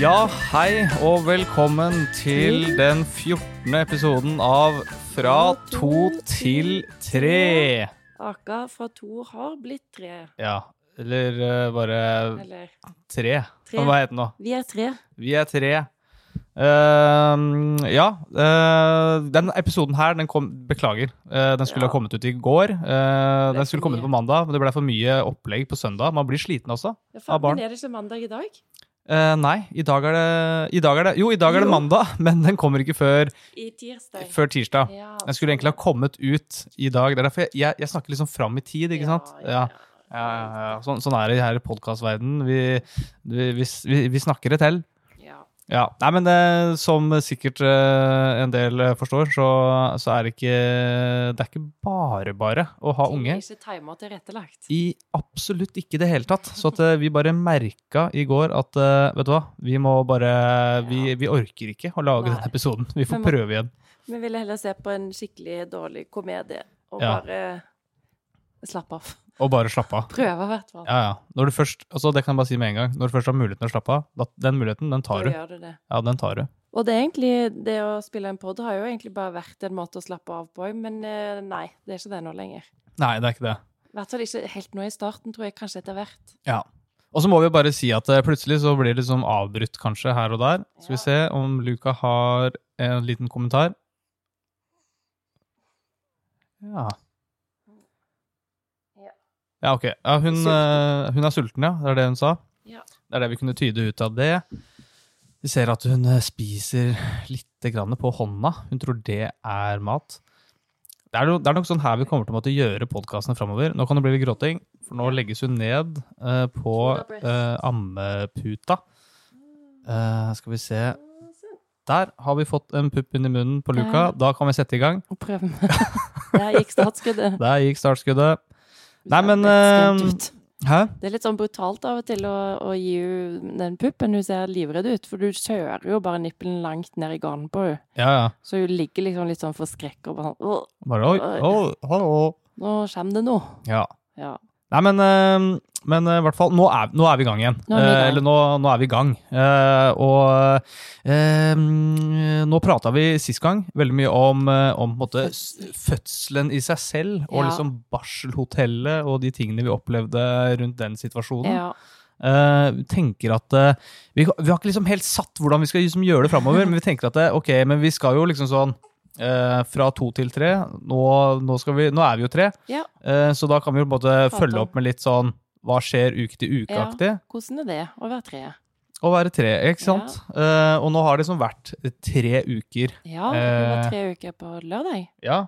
Ja, hei og velkommen til den 14. episoden av Fra to til tre. Aka fra to har blitt tre. Ja, eller eh, bare Eller tre. Tre. Hva heter den nå? Vi er tre. Vi er tre. Ehm, ja, eh, den episoden her, den kom Beklager. Eh, den skulle Ja. ha kommet ut i går. Eh, ble den for skulle komme ut mye. på mandag, men det ble for mye opplegg på søndag. Man blir sliten også. Ja, Av faen, barn. men er det ikke mandag i dag? Eh, nei, i dag er det, i dag er det Jo, i dag er det Jo. mandag, men den kommer ikke før, I tirsdag. før tirsdag. Ja, Den skulle egentlig ha kommet ut i dag. Det er derfor jeg, jeg, jeg snakker liksom fram i tid, ikke sant? Ja, ja. Ja, ja. Sånn, sånn er det her i podkastverdenen. Vi, vi, vi, vi, vi snakker det til. ja. Ja. Nei, men eh, som sikkert eh, en del eh, forstår, så, så er det ikke Det er ikke bare bare å ha unge. Ikke timer tilrettelagt. I absolutt ikke det hele tatt. Så at eh, vi bare merka i går at eh, vet du hva, vi må bare Vi, vi orker ikke å lage Nei. denne episoden. Vi Men får må- prøve igjen. Vi ville heller se på en skikkelig dårlig komedie og Ja. bare slappe av. Og bare slappe av. Prøve, i hvert fall. Ja, ja. Når du først, altså det kan jeg bare si med en gang, når du først har muligheten til å slappe av, da, den muligheten, den tar Da du. gjør du det. Ja, den tar du. Og det er egentlig, det å spille en pod har jo egentlig bare vært en måte å slappe av på, men eh, nei, det er ikke det nå lenger. Nei, det er ikke det. I hvert fall ikke helt nå i starten, tror jeg kanskje etter hvert. Ja. Og så må vi jo bare si at eh, plutselig så blir det liksom avbrutt kanskje her og der. Skal vi Ja. se om Luca har en liten kommentar. Ja. Ja. Ja, ok. Ja, hun, Sulten. eh, hun er sulten, ja. Det er det hun sa. Ja. Det er det vi kunne tyde ut av det. Vi ser at hun eh, spiser litt grann på hånda. Hun tror det er mat. Det er, no, det er nok sånn her vi kommer til å måtte gjøre podkastene framover. Nå kan det bli litt gråting, for nå legges hun ned eh, på Shoulder breath. eh, ammeputa. Eh, skal vi se Der har vi fått en pupp inn i munnen på Luca. Der. Da kan vi sette i gang. Og prøve med Der gikk startskuddet. Der gikk startskuddet. Du Nei, ser men, vettskremt eh, ut. Hæ? Det er litt sånn brutalt av og til å, å gi henne den puppen. Hun ser livredd ut, for du kjører jo bare nippelen langt ned i garnen på henne. Ja, ja. Så hun ligger liksom litt sånn forskrekka og bare sånn «Åh, Bare oi, Oi. oi, hallo. Nå kommer det noe. Ja. Ja. Nei, men, eh, men eh, i hvert fall, nå er, nå er vi i gang igjen. Nå er vi i Eh, gang. Eller nå, nå er vi i gang. Eh, og eh, mm, nå prata vi sist gang veldig mye om, eh, om på en måte, s- fødselen i seg selv, og Ja. liksom barselhotellet og de tingene vi opplevde rundt den situasjonen. ja. Eh, vi tenker at eh, vi, vi har ikke liksom helt satt hvordan vi skal liksom gjøre det framover, men vi tenker at eh, ok, men vi skal jo liksom sånn eh, fra to til tre. Nå, nå, skal vi, nå er vi jo tre. Ja. Eh, Så da kan vi jo på en måte Prate følge om. opp med litt sånn hva skjer uke til uke-aktig, Hvordan er det å være tre? og være tre, ikke sant? Eh, og nå har det liksom vært tre uker. Ja, det Eh. var tre uker på lørdag. Ja.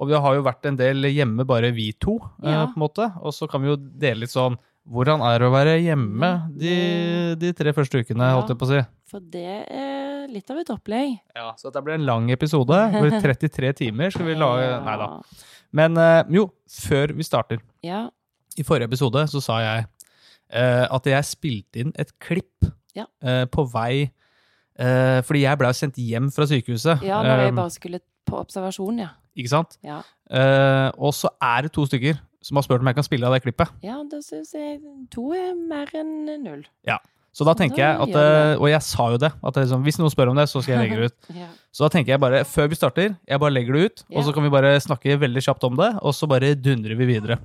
Og vi har jo vært en del hjemme, bare vi to, eh, Ja. på en måte. Og så kan vi jo dele litt sånn hvordan er det å være hjemme de, de tre første ukene, Mm. Ja. holdt jeg på å si. For det er litt av et opplegg. Ja, så dette blir en lang episode. Det blir 33 timer. Skal vi lage Ja. Nei da. Men eh, jo, før vi starter. Ja. I forrige episode så sa jeg eh, at jeg spilte inn et klipp Ja. eh, på vei eh, Fordi jeg ble jo sendt hjem fra sykehuset. ja, når eh, jeg bare skulle på observasjon, ja. Ikke sant? Ja, Eh, og så er det to stykker som har spurt om jeg kan spille av det klippet. ja da syns jeg to er mer enn null. Så da tenker jeg Da at, gjør vi eh, Og jeg sa jo det. At det er liksom, hvis noen spør om det, så skal jeg legge det ut. Ja. Så da tenker jeg bare, før vi starter, jeg bare legger det ut, og Ja. så kan vi bare snakke veldig kjapt om det, og så bare dundrer vi videre.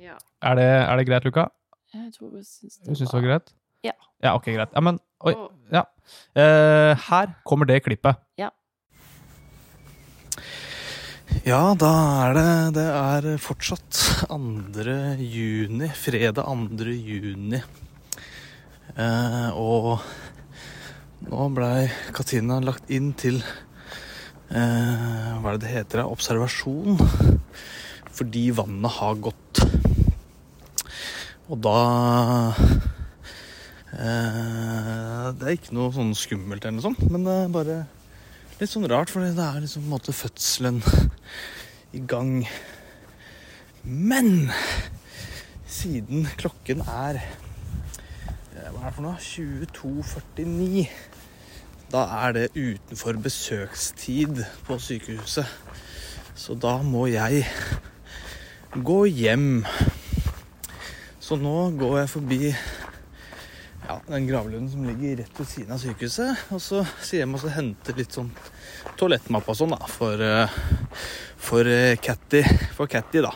ja. Er det, er det greit, Luka? Jeg tror hun syns Du syns det var greit? Ja. Ja, ok, greit. Ja, men oi. Og- Ja. Eh, her kommer det klippet. Ja, da er det Det er fortsatt 2. juni. Fredag 2. juni. Eh, og nå blei Katina lagt inn til eh, Hva er det det heter? da? Observasjon. Fordi vannet har gått. Og da eh, Det er ikke noe sånn skummelt eller noe sånt, men det er bare litt sånn rart, for det er liksom på en måte fødselen i gang. Men siden klokken er eh, Hva er det for noe? 22.49. Da er det utenfor besøkstid på sykehuset. Så da må jeg gå hjem. Så nå går jeg forbi ja, den gravlunden som ligger rett ved siden av sykehuset. Og så sier jeg meg å hente litt sånn toalettmappe og sånn da, for, eh, for eh, Catty, for Catty da.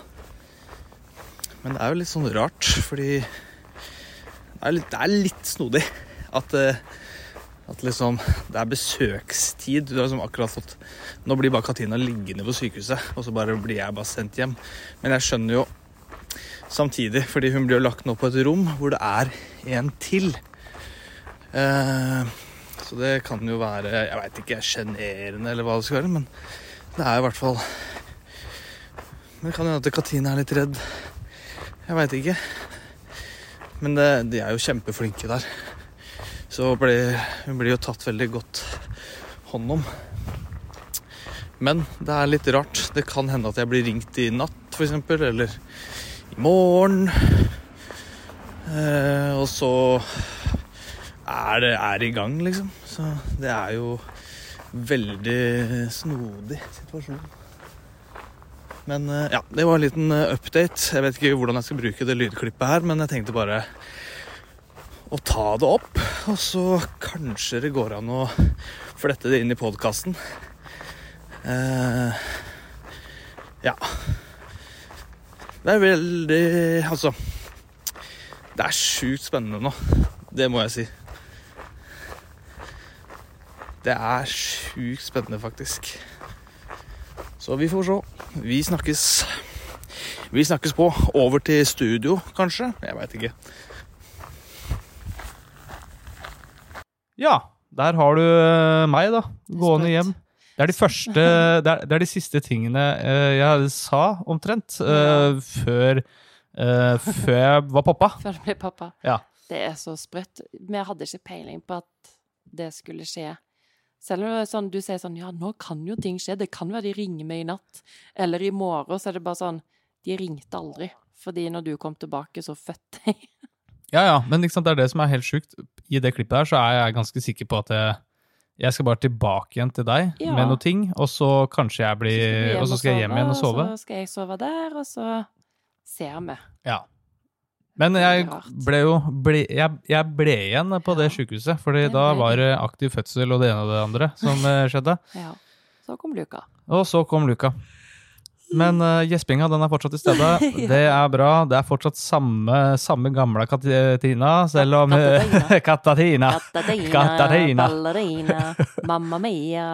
Men det er jo litt sånn rart, fordi det er litt, det er litt snodig at, eh, at liksom, det er besøkstid. Du har liksom akkurat fått Nå blir bare Katina liggende på sykehuset, og så bare blir jeg bare sendt hjem. Men jeg skjønner jo samtidig, fordi hun blir jo lagt nå på et rom hvor det er en til. Eh, så det kan jo være Jeg veit ikke, sjenerende eller hva det skal være, men det er i hvert fall Men det kan jo hende at Katina er litt redd. Jeg veit ikke. Men det, de er jo kjempeflinke der. Så ble, hun blir jo tatt veldig godt hånd om. Men det er litt rart. Det kan hende at jeg blir ringt i natt, f.eks. Eller i morgen. Eh, og så er det er i gang, liksom. Så det er jo veldig snodig situasjon. Men eh, ja, det var en liten eh, update. Jeg vet ikke hvordan jeg skal bruke det lydklippet her, men jeg tenkte bare å ta det opp. Og så kanskje det går an å flette det inn i podkasten. Eh, ja. Det er veldig Altså. Det er sjukt spennende nå. Det må jeg si. Det er sjukt spennende, faktisk. Så vi får se. Vi snakkes. Vi snakkes på. Over til studio, kanskje? Jeg veit ikke. Ja, der har du eh, meg, da. Gående Sprøtt. hjem. Det er de første Det er, det er de siste tingene eh, jeg sa, omtrent, eh, Ja. før eh, Før jeg var pappa. før du ble pappa. Ja. Det er så sprøtt. Vi hadde ikke peiling på at det skulle skje. Selv om det er sånn, du sier sånn Ja, nå kan jo ting skje. Det kan være de ringer meg i natt. Eller i morgen. Så er det bare sånn De ringte aldri. Fordi når du kom tilbake, så fødte jeg. Ja, ja, men ikke sant, det er det som er helt sjukt. I det klippet her så er jeg ganske sikker på at jeg, jeg skal bare tilbake igjen til deg Ja. med noen ting, og så kanskje jeg Så blir skal du hjem Og så skal jeg hjem igjen og sove. Og så skal jeg sove der, og så ser vi. Ja. Men Det er jeg rart. ble jo ble, jeg, jeg ble igjen på det sykehuset, fordi Det da ble var det aktiv fødsel og det ene og det andre som eh, skjedde. Ja. Så kom Luka. Og så kom Luka. Men eh, gjespinga den er fortsatt til stede. Ja. Det er bra. Det er fortsatt samme, samme gamle Katina, selv om Katarina. Katatina. Katarina, Katarina. ballerina, mamma mia.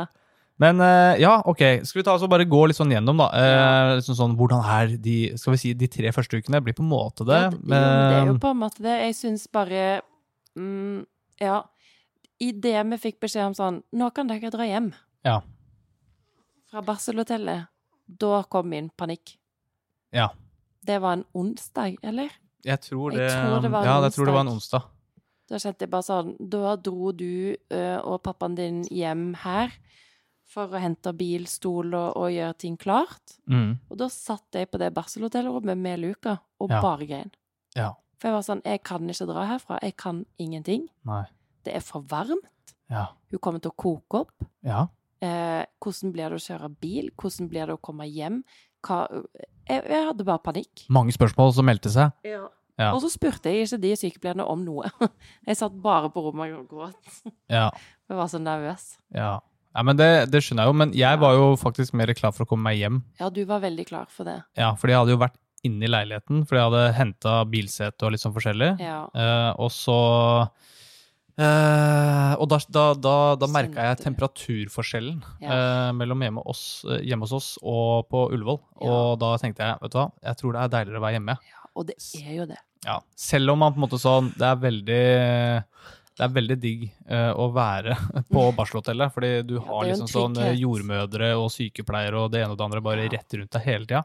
Men eh, ja, ok. Skal vi ta oss og bare gå litt sånn gjennom, da. Eh, liksom sånn, hvordan er de skal vi si, de tre første ukene? Blir på en måte det. Ja, d- jo, men det er jo på en måte det. Jeg syns bare mm, Ja. Idet vi fikk beskjed om sånn Nå kan dere dra hjem. Ja. Fra barselhotellet. Da kom min panikk. Ja. Det var en onsdag, eller? jeg tror jeg det, tror det var en ja, jeg tror det var en onsdag. onsdag. Da kjente jeg bare sånn Da dro du ø, og pappaen din hjem her for å hente bil, stol og, og gjøre ting klart. Mm. Og da satt jeg på det barselhotellrommet med Luka og Ja. bare grein. Ja. For jeg var sånn Jeg kan ikke dra herfra. Jeg kan ingenting. Nei. Det er for varmt. Ja. Hun kommer til å koke opp. Ja. Eh, hvordan blir det å kjøre bil? Hvordan blir det å komme hjem? Hva Jeg, jeg hadde bare panikk. Mange spørsmål som meldte seg. Ja. Og så spurte jeg ikke de sykepleierne om noe. Jeg satt bare på rommet og gråt. Ja. Jeg var så nervøs. Ja. ja men det, det skjønner jeg jo, men jeg var jo faktisk mer klar for å komme meg hjem. Ja, du var veldig klar for det. Ja, fordi jeg hadde jo vært inne i leiligheten, fordi jeg hadde henta bilsete og litt sånn forskjellig. Ja. Eh, og så eh, Og da, da, da, da merka jeg Kjente du. temperaturforskjellen Ja. eh, mellom hjemme, oss, eh, hjemme hos oss og på Ullevål. Og da tenkte jeg, vet du hva, jeg tror det er deiligere å være hjemme. ja. Og det er jo det. Ja, selv om man på en måte sånn Det er veldig det er veldig digg eh, å være på barselhotellet, fordi du har Mm. det er jo en liksom sånn eh, trygghet. jordmødre og sykepleiere og det ene og det andre bare Ja. rett rundt deg hele tida.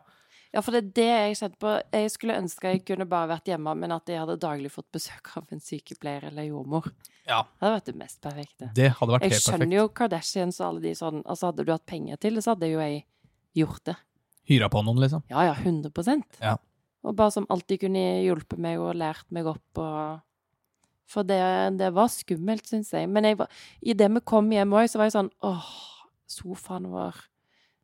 Ja, for det er det jeg kjente på. Jeg skulle ønske jeg kunne bare vært hjemme, men at jeg hadde daglig fått besøk av en sykepleier eller jordmor. Ja. Det hadde vært det mest perfekte. Det hadde vært Jeg helt perfekt. skjønner jo Kardashians og alle de sånn Altså, hadde du hatt penger til det, så hadde jo jeg gjort det. Hyra på noen, liksom. Ja, ja, 100 Ja. Og bare som alltid kunne hjulpet meg og lært meg opp og For det, det var skummelt, syns jeg. Men jeg var- i det vi kom hjem òg, så var jeg sånn åh, sofaen vår,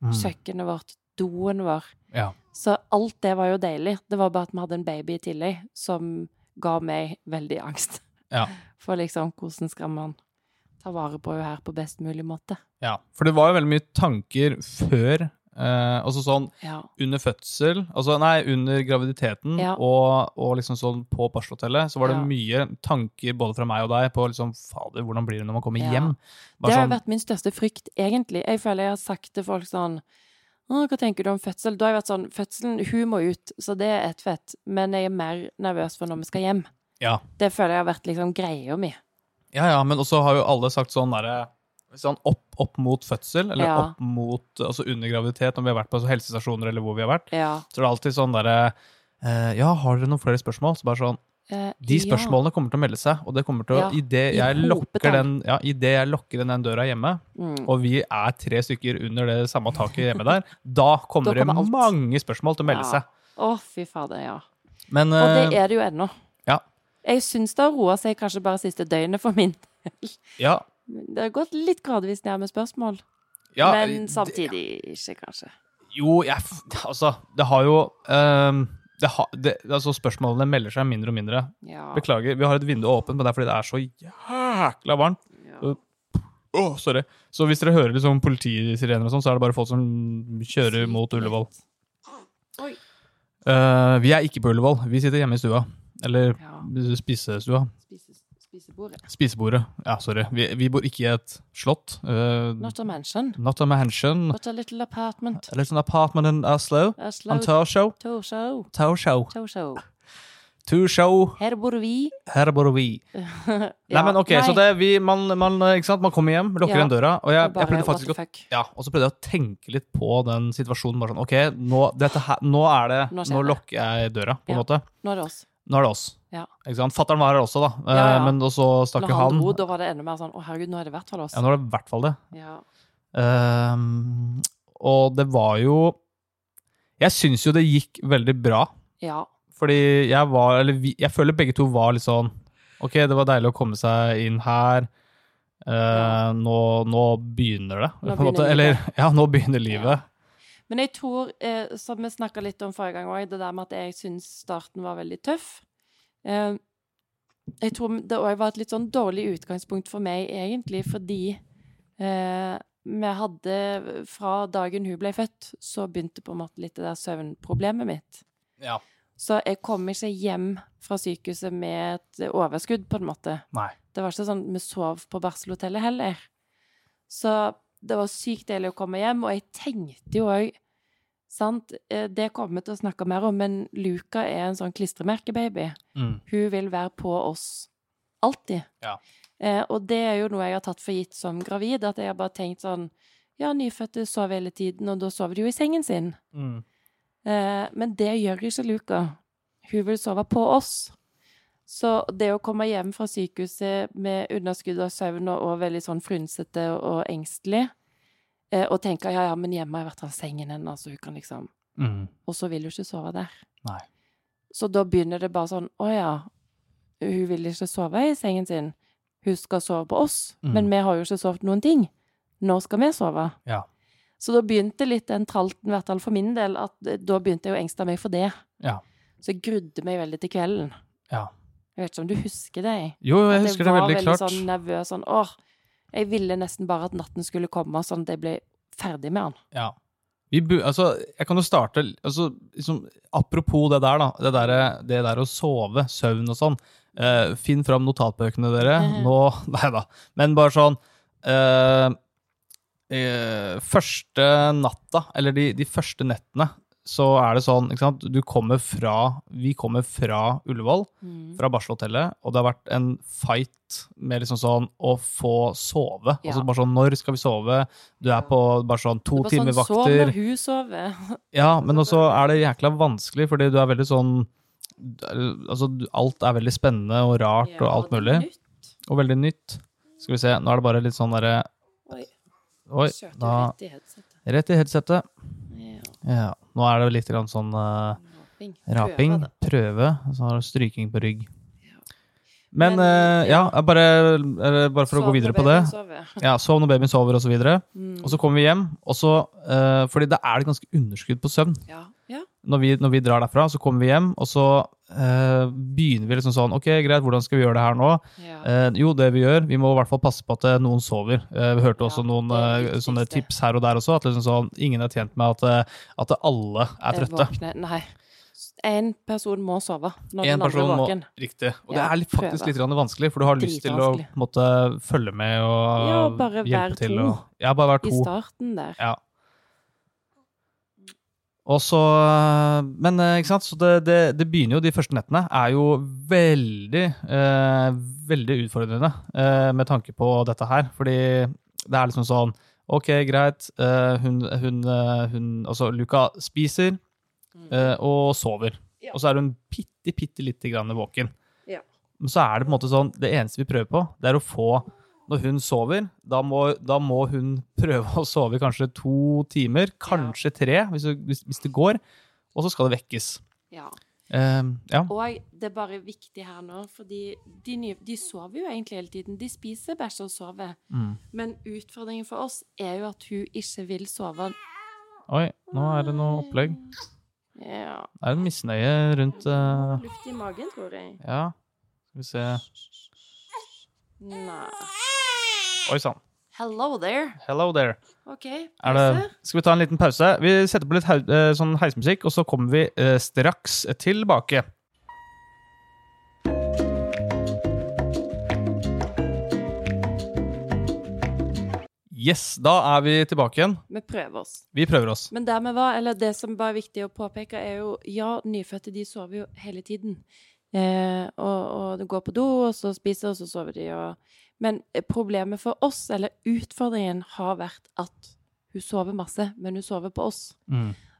Mm. kjøkkenet vårt, doen vår. Ja. Så alt det var jo deilig. Det var bare at vi hadde en baby i tillegg som ga meg veldig angst. Ja. For liksom, hvordan skal man ta vare på henne her på best mulig måte? Ja, for det var jo veldig mye tanker før. Eh, altså sånn Ja. under fødsel, altså nei, under graviditeten Ja. og, og liksom sånn på barselhotellet, så var det Ja. mye tanker både fra meg og deg på liksom fader, hvordan blir det når man kommer Ja. hjem? Det Bare har sånn, vært min største frykt, egentlig. Jeg føler jeg har sagt til folk sånn Å, hva tenker du om fødsel? Da har jeg vært sånn Fødselen, hun må ut, så det er ett fett. Men jeg er mer nervøs for når vi skal hjem. Ja. Det føler jeg har vært liksom greia mi. Ja, ja, men også har jo alle sagt sånn derre sånn opp, opp mot fødsel, eller Ja. opp mot altså under graviditet, om vi har vært på altså, helsestasjoner eller hvor vi har vært, Ja. så er det alltid sånn derre eh, Ja, har dere noen flere spørsmål? Så bare sånn Eh, De ja. spørsmålene kommer til å melde seg, og det kommer til å Ja, I det i jeg lokker hopetall. den, ja, i det jeg lokker inn den døra hjemme, Mm. og vi er tre stykker under det samme taket hjemme der, da kommer, Da kommer alt. det mange spørsmål til å melde Ja. seg. Å, fy fader, ja. Men Og det eh, er det jo ennå. Ja. Jeg syns det har roa seg kanskje bare siste døgnet for min del. ja, Det har gått litt gradvis ned med spørsmål, ja, men det- samtidig ikke, kanskje. Jo, jeg f- Altså, det har jo ehm, det ha, det, altså Spørsmålene melder seg mindre og mindre. Ja. Beklager, vi har et vindu åpent, men det er fordi det er så jækla varmt. ja. Åh, sorry. Så hvis dere hører liksom politisirener og sånn, så er det bare folk som kjører mot Ullevål. Oi. Eh, vi er ikke på Ullevål. Vi sitter hjemme i stua. Eller Ja. spisestua. Spise, spisebordet. Spisebordet. Ja, sorry. Vi, vi bor ikke i et slott. Eh, Not a mansion, not a mansion. but a little apartment. It's an apartment in Oslo. A slow On tour show. toe show. Tour show. Toe show. Tour show. Her bor vi. Her bor vi. Ja, Nei, men ok, så det, vi, man, man, eh, ikke sant? man kommer hjem, lukker Ja. igjen døra, og jeg, og jeg bare, prøvde what faktisk the å fuck. ja, og så prøvde jeg å tenke litt på den situasjonen. bare sånn, ok, Nå, dette her, nå er det, Nå nå, skjer det. lukker jeg døra, på en Ja. måte. Nå er det oss. Nå er det oss. Ja. Ikke sant? Fatteren var her også, da, eh, Ja, ja. men så stakk Når jo han han. dro, da var det enda mer sånn Å, herregud, nå er det i hvert fall oss. Ja, nå er det i hvert fall det. Ja. Ehm, og det var jo Jeg syns jo det gikk veldig bra, ja. fordi jeg var Eller vi, jeg føler begge to var litt sånn Ok, det var deilig å komme seg inn her. Eh, Ja. nå, nå begynner det, Nå på en måte. begynner Eller, ja, nå begynner livet. Men jeg tror, eh, som vi snakka litt om forrige gang òg, det der med at jeg syns starten var veldig tøff eh, Jeg tror det òg var et litt sånn dårlig utgangspunkt for meg, egentlig, fordi eh, vi hadde Fra dagen hun ble født, så begynte på en måte litt det der søvnproblemet mitt. Ja. Så jeg kom ikke hjem fra sykehuset med et overskudd, på en måte. Nei. Det var ikke sånn vi sov på barselhotellet heller. Så det var sykt deilig å komme hjem, og jeg tenkte jo òg Sant, eh, det kommer vi til å snakke mer om, men Luca er en sånn klistremerkebaby. Mm. Hun vil være på oss alltid. Ja. Eh, og det er jo noe jeg har tatt for gitt som gravid, at jeg har bare tenkt sånn Ja, nyfødte sover hele tiden, og da sover de jo i sengen sin. Mm. Eh, men det gjør ikke Luca. Hun vil sove på oss. Så det å komme hjem fra sykehuset med underskudd av søvn og, og veldig sånn frynsete og, og engstelig, eh, og tenke ja, ja, men hjemme har jeg vært av sengen hennes, så hun kan liksom Mm. Og så vil hun ikke sove der. Nei. Så da begynner det bare sånn Å ja, hun vil ikke sove i sengen sin. Hun skal sove på oss. Mm. Men vi har jo ikke sovet noen ting. Nå skal vi sove. Ja. Så da begynte litt den tralten, i hvert fall for min del, at eh, da begynte jeg å engste meg for det. Ja. Så jeg grudde meg veldig til kvelden. Ja. Jeg vet ikke om du husker det? jeg. Jo, jo, jeg At husker det veldig klart. var veldig sånn nervøs, sånn åh, jeg ville nesten bare at natten skulle komme, sånn at jeg ble ferdig med han. Ja. Vi bu altså, jeg kan jo starte altså, liksom, Apropos det der, da. Det der, det der å sove, søvn og sånn. Eh, finn fram notatbøkene, dere. Nå Nei da. Men bare sånn eh, eh, Første natta, eller de, de første nettene, så er det sånn ikke sant? Du kommer fra Vi kommer fra Ullevål, Mm. fra barselhotellet, og det har vært en fight med liksom sånn å få sove. Ja. Altså bare sånn Når skal vi sove? Du er på bare sånn to Det var timer sånn, Sov vakter. når hun sover. Ja, men også er det jækla vanskelig, fordi du er veldig sånn Altså, du- alt er veldig spennende og rart og alt mulig, og veldig nytt. Skal vi se, nå er det bare litt sånn derre Oi, Oi, kjørte hun da rett i headsetet. Rett i headsetet. Ja, Ja. Nå er det litt grann sånn eh, raping. raping, Prøver det. prøve, og så har du stryking på rygg. Ja. Men Men, eh, ja, bare, eh, bare for å Sov gå videre når på det. babyen sover. Ja, Sov når babyen sover, og så videre. Mm. Og så kommer vi hjem, og så eh, Fordi da er det ganske underskudd på søvn. Ja. ja. når vi, når vi drar derfra, så kommer vi hjem, og så eh, eh, begynner vi liksom sånn Ok, greit, hvordan skal vi gjøre det her nå? Ja. Eh, jo, det vi gjør, vi må i hvert fall passe på at eh, noen sover. Eh, vi hørte også Ja, noen det er det eh, sånne viktigste. tips her og der også, at liksom sånn, ingen er tjent med at, eh, at alle er trøtte. Våkne. Nei. En person må sove når En den andre person er må våken. Riktig. Og det Ja, er litt, faktisk prøve. litt grann vanskelig, for du har lyst til å på Dritvanskelig. en måte, følge med og Ja, bare være hjelpe til. to Og, ja, bare være I to. starten der. Ja. Og så Men eh, ikke sant, så det, det, det begynner jo de første nettene. Er jo veldig, eh, veldig utfordrende eh, med tanke på dette her. Fordi det er liksom sånn Ok, greit. eh, hun, hun, eh, hun Altså, Luca spiser eh, og sover. Ja. Og så er hun bitte, bitte lite grann våken. Ja. Men så er det på en måte sånn Det eneste vi prøver på, det er å få når hun sover, da må, da må hun prøve å sove i kanskje to timer, kanskje tre, hvis, du- hvis, hvis det går. Og så skal det vekkes. Ja. Eh, ja. Og det er bare viktig her nå, fordi de, nye, de sover jo egentlig hele tiden. De spiser, bæsjer og sover. Mm. Men utfordringen for oss er jo at hun ikke vil sove. Oi, nå er det noe opplegg. Ja. Det er en misnøye rundt eh, Luft i magen, tror jeg. Ja, skal vi se Nei. Oi sann. Hello there. Hello there. OK. Er det, skal vi ta en liten pause? Vi setter på litt hau- eh, sånn heismusikk, og så kommer vi eh, straks tilbake. Yes, da er vi tilbake igjen. Vi prøver oss. Vi prøver oss. Men der vi var, eller det som bare er viktig å påpeke, er jo ja, nyfødte de sover jo hele tiden. Eh, og, og de går på do, og så spiser, og så sover de. Og... Men problemet for oss, eller utfordringen, har vært at hun sover masse, men hun sover på oss.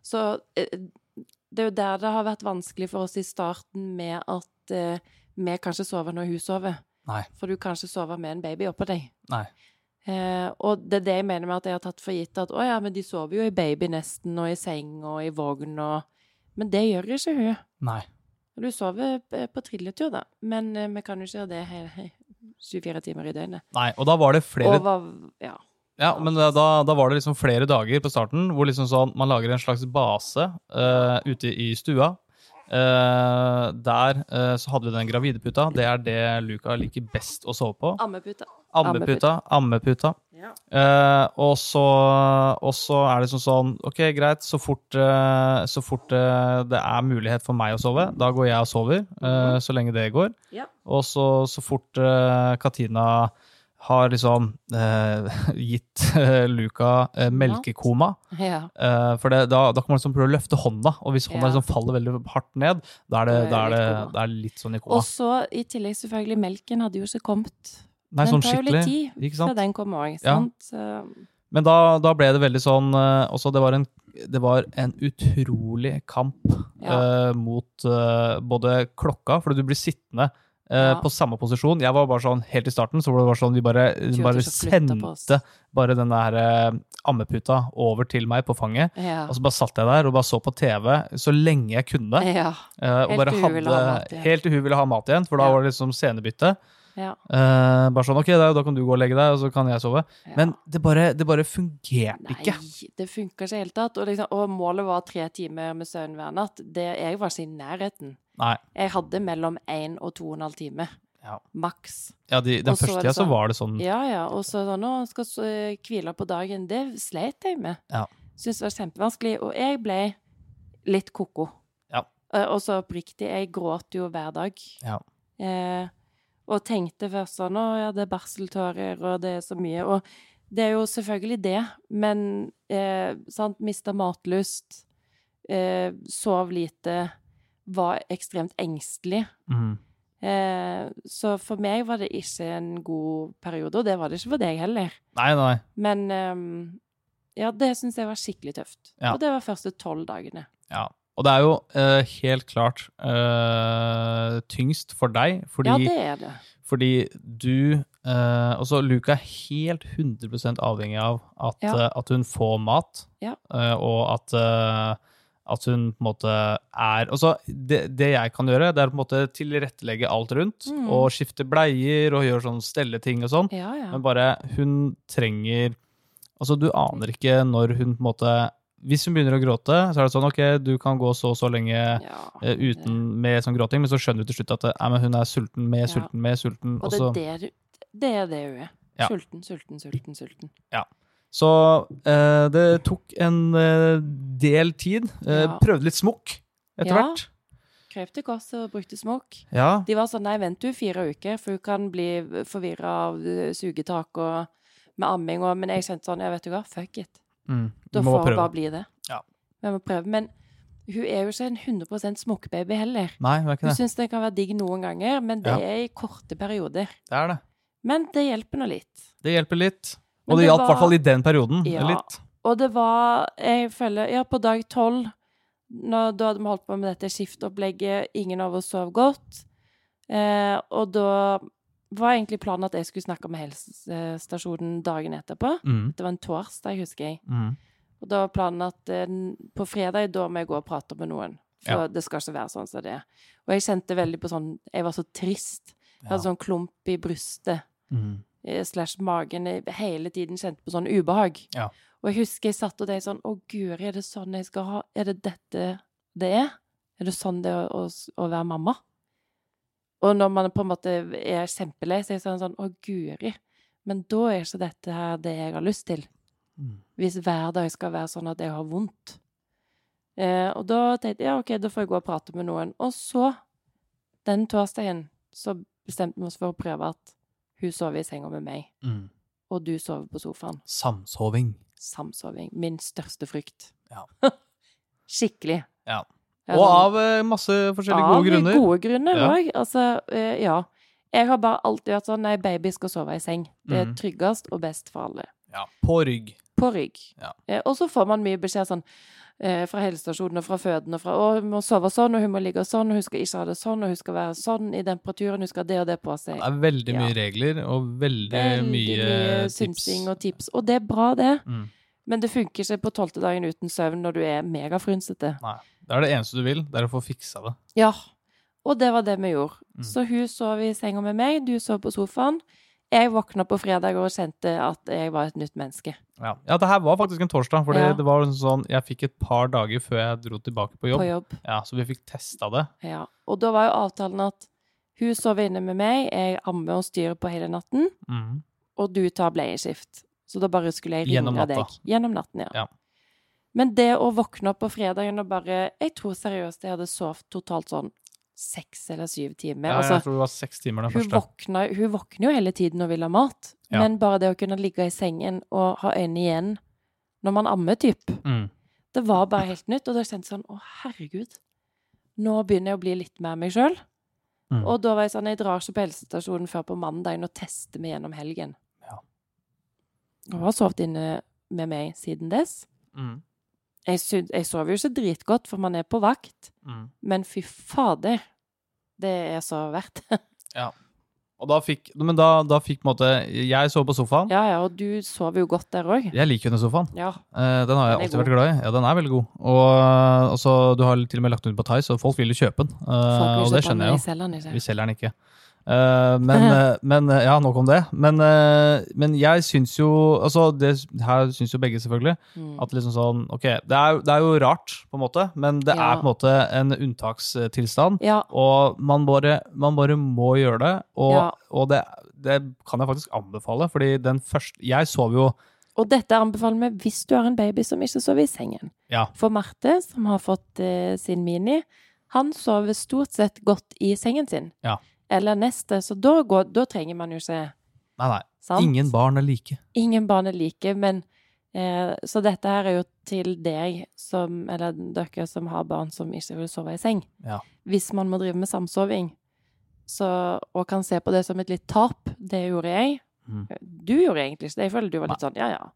Så eh, det er jo der det har vært vanskelig for oss i starten med at eh, vi kanskje sover når hun sover. Nei. For du kan ikke sove med en baby oppå deg. Nei. Eh, og det er det jeg mener med at jeg har tatt for gitt at å ja, men de sover jo i baby nesten, og i seng og i vogn og Men det gjør ikke hun. Nei. Du sover eh, på trilletur, da, men eh, vi kan jo ikke gjøre det hele 24 timer i døgnet. Nei, og da var det flere Over Ja. Ja, men da, da da var det liksom flere dager på starten hvor liksom sånn, man lager en slags base eh, ute i stua. Eh, der eh, så hadde vi den gravideputa. Det er det Luca liker best å sove på. Ammeputa. Ammeputa. ammeputa. Ja. Eh, og, så, og så er det sånn sånn Ok, greit, så fort, eh, så fort eh, det er mulighet for meg å sove, da går jeg og sover, eh, så lenge det går. Mhm. Ja. Og så, så fort eh, Katina har liksom eh, gitt eh, Luca eh, melkekoma ja. eh, For det, da, da kan man liksom prøve å løfte hånda, og hvis hånda Ja. liksom faller veldig hardt ned, da er det, Da da er er det det, litt koma. det er litt sånn i koma. Og så i tillegg selvfølgelig melken hadde jo ikke kommet. Nei, den sånn tar jo litt skikkelig. tid Ikke før sant? den kommer òg, Ja. sant? Så- Men da, da ble det veldig sånn eh, Også det var en, det var en utrolig kamp Ja. eh, mot eh, både klokka, fordi du blir sittende eh, Ja. på samme posisjon. Jeg var bare sånn helt i starten, så var det bare sånn vi bare, turte bare ikke å flytte på oss. sendte bare den der eh, ammeputa over til meg på fanget. Ja. Og så bare satt jeg der og bare så på TV så lenge jeg kunne. ja. eh, helt og bare til hun ville hadde, ha mat igjen. helt til hun ville ha mat igjen, for da Ja. var det liksom scenebytte. ja. Eh, bare sånn, ok, da, da kan du gå og legge deg, og så kan jeg sove. Ja. Men det bare, det bare fungerte ikke. Nei, det funka ikke i det hele tatt. Og, liksom, og målet var tre timer med søvn hver natt. Det, jeg var ikke i nærheten. Nei. Jeg hadde mellom én og to og en halv time. Ja. Maks. Ja, de, den Og så første var tida det så sånn- var det sånn Ja, ja. Og så da, nå skal jeg hvile på dagen. Det sleit jeg med. Ja. Syntes det var kjempevanskelig. Og jeg ble litt ko-ko. Ja. Eh, Og så oppriktig, jeg gråt jo hver dag. Ja. Eh, og tenkte først sånn Å ja, det er barseltårer, og det er så mye. Og det er jo selvfølgelig det, men eh, sant, mista matlyst, eh, sov lite, var ekstremt engstelig. mm, Eh, så for meg var det ikke en god periode, og det var det ikke for deg heller. Nei, nei. Men ehm, ja, det syns jeg var skikkelig tøft. Ja. Og det var første tolv dagene. Ja. Og det er jo eh, helt klart eh, tyngst for deg, fordi, ja, det er det. fordi du eh, Også Luca er helt 100 avhengig av at, Ja. eh, at hun får mat, Ja. eh, og at, eh, at hun på en måte er Altså, det, det jeg kan gjøre, det er på en måte tilrettelegge alt rundt, Mm. og skifte bleier og gjøre sånn stelleting og sånn. Ja, ja. Men bare, hun trenger Altså, du aner ikke når hun på en måte Hvis hun begynner å gråte, så er det sånn ok, du kan gå så og så lenge Ja. eh, uten med sånn gråting, men så skjønner du til slutt at eh, nei, men hun er sulten, med Ja. sulten, med sulten. Og Og det så, er det, det er det hun er. Ja. Sulten, sulten, sulten, sulten. så eh, det tok en eh, del tid. Eh, Ja. Prøvde litt smokk etter Ja. hvert. Krøp til korset og brukte smokk. Ja. De var sånn, nei, vent du fire uker, for hun kan bli forvirra av eh, sugetak og med amming og Men jeg kjente sånn, ja, vet du hva, fuck it. Mm. Da Vi må får hun prøve. bare bli det. Ja. Vi må prøve. Men hun er jo ikke en 100 smokkebaby heller. Nei, det er Hun ikke det. syns den kan være digg noen ganger, men det Ja. er i korte perioder. Det er det. Men det hjelper nå litt. Det hjelper litt. Men Og det det hjalp i var- hvert fall i den perioden. Ja. Litt. Og det var Jeg føler Ja, på dag tolv, da hadde vi holdt på med dette skiftopplegget, ingen av oss sov godt, eh, og da var egentlig planen at jeg skulle snakke med helsestasjonen dagen etterpå. Mm. Det var en torsdag, husker jeg. Mm. Og da var planen at eh, på fredag, da må jeg gå og prate med noen. For Ja. det skal ikke være sånn som det er. Og jeg kjente veldig på sånn Jeg var så trist. Jeg Ja. hadde sånn klump i brystet Mm. eh, slash magen. Jeg hele tiden kjente på sånn ubehag. Ja. Og jeg husker jeg satt og tenkte sånn Å, guri, er det sånn jeg skal ha Er det dette det er? Er det sånn det er å, å være mamma? Og når man på en måte er kjempelei, så er jeg sånn sånn Å, guri. Men da er ikke dette her det jeg har lyst til. Mm. Hvis hver dag skal være sånn at jeg har vondt. Eh, og da tenkte jeg ja, OK, da får jeg gå og prate med noen. Og så, den torsdagen, så bestemte vi oss for å prøve at hun sover i senga med meg, Mm. og du sover på sofaen. Samsoving. Samsoving. Min største frykt. Ja. Skikkelig. Ja. Jeg er Og sånn- av eh, masse forskjellige gode grunner. Av gode grunner Ja. òg. Altså, eh, ja. Jeg har bare alltid vært sånn nei, baby skal sove i seng. Det er Mhm. tryggest og best for alle. Ja, på rygg. På rygg. Ja. Eh, og så får man mye beskjed sånn eh, fra helsestasjonen og fra føden og fra å, hun må sove sånn, og hun må ligge sånn, og hun skal ikke ha det sånn, og hun skal være sånn i temperaturen, hun skal ha det og det på seg. Det er veldig Ja. mye regler og veldig, Veldig mye, tips. synsing og tips. Og det er bra, det. Mm. Men det funker ikke på tolvte dagen uten søvn når du er megafrynsete. Nei, det er det eneste du vil, det er å få fiksa det. Ja. Og det var det vi gjorde. Mm. Så hun sov i senga med meg, du sov på sofaen. Jeg våkna på fredag og kjente at jeg var et nytt menneske. Ja, ja det her var faktisk en torsdag, fordi Ja. det var sånn, jeg fikk et par dager før jeg dro tilbake på jobb. På jobb. Ja, så vi fikk testa det. Ja. Og da var jo avtalen at hun sover inne med meg, jeg ammer og styrer på hele natten, Mm. og du tar bleieskift. Så da bare skulle jeg Gjennom ringe natta. deg. Gjennom natten. ja. Ja. Men det å våkne opp på fredagen og bare Jeg tror seriøst jeg hadde sovet totalt sånn seks eller syv timer. Ja, altså, jeg tror det var seks timer den hun første. våkner, hun våkner jo hele tiden og vil ha mat, Ja. men bare det å kunne ligge i sengen og ha øynene igjen når man ammer, typ, Mm. det var bare helt nytt. Og da kjente jeg sånn Å, herregud. Nå begynner jeg å bli litt mer meg sjøl. Mm. Og da var jeg sånn Jeg drar ikke på helsestasjonen før på mandagen og tester meg gjennom helgen. Ja. Og har sovet inne med meg siden dess. Mm. Jeg, syn- jeg sover jo ikke dritgodt, for man er på vakt, Mm. men fy fader, det er så verdt det. Og da fikk, men da, da fikk på en måte Jeg sov på sofaen. Ja, ja, og du sover jo godt der òg. Jeg liker jo den sofaen. Ja. Eh, Den har jeg Den er alltid god. vært glad i. Ja, den er veldig god. Og eh, altså, du har til og med lagt den ut på Thai, så folk vil jo kjøpe den. Eh, og det skjønner jeg jo. Vi jo. selger den ikke. Eh, men, eh, men eh, Ja, nok om det. Men, eh, men jeg syns jo Altså, det her syns jo begge, selvfølgelig. Mm. At liksom sånn Ok, det er, jo- det er jo rart, på en måte, men det Ja. er på en måte en unntakstilstand. Ja, Og man bare, man bare må gjøre det. Og, Ja. og det, det kan jeg faktisk anbefale, fordi den første Jeg sov jo og dette anbefaler vi hvis du har en baby som ikke sover i sengen. Ja. For Marte, som har fått eh, sin mini, han sover stort sett godt i sengen sin. Ja. Eller neste, så da, går, da trenger man jo ikke Nei, nei. sant? Ingen barn er like. Ingen barn er like, men eh, Så dette her er jo til deg som Eller dere som har barn som ikke vil sove i seng. Ja. Hvis man må drive med samsoving, så, og kan se på det som et litt tap Det gjorde jeg. Mm. Du gjorde egentlig ikke det. Jeg føler du var litt sånn ja, ja.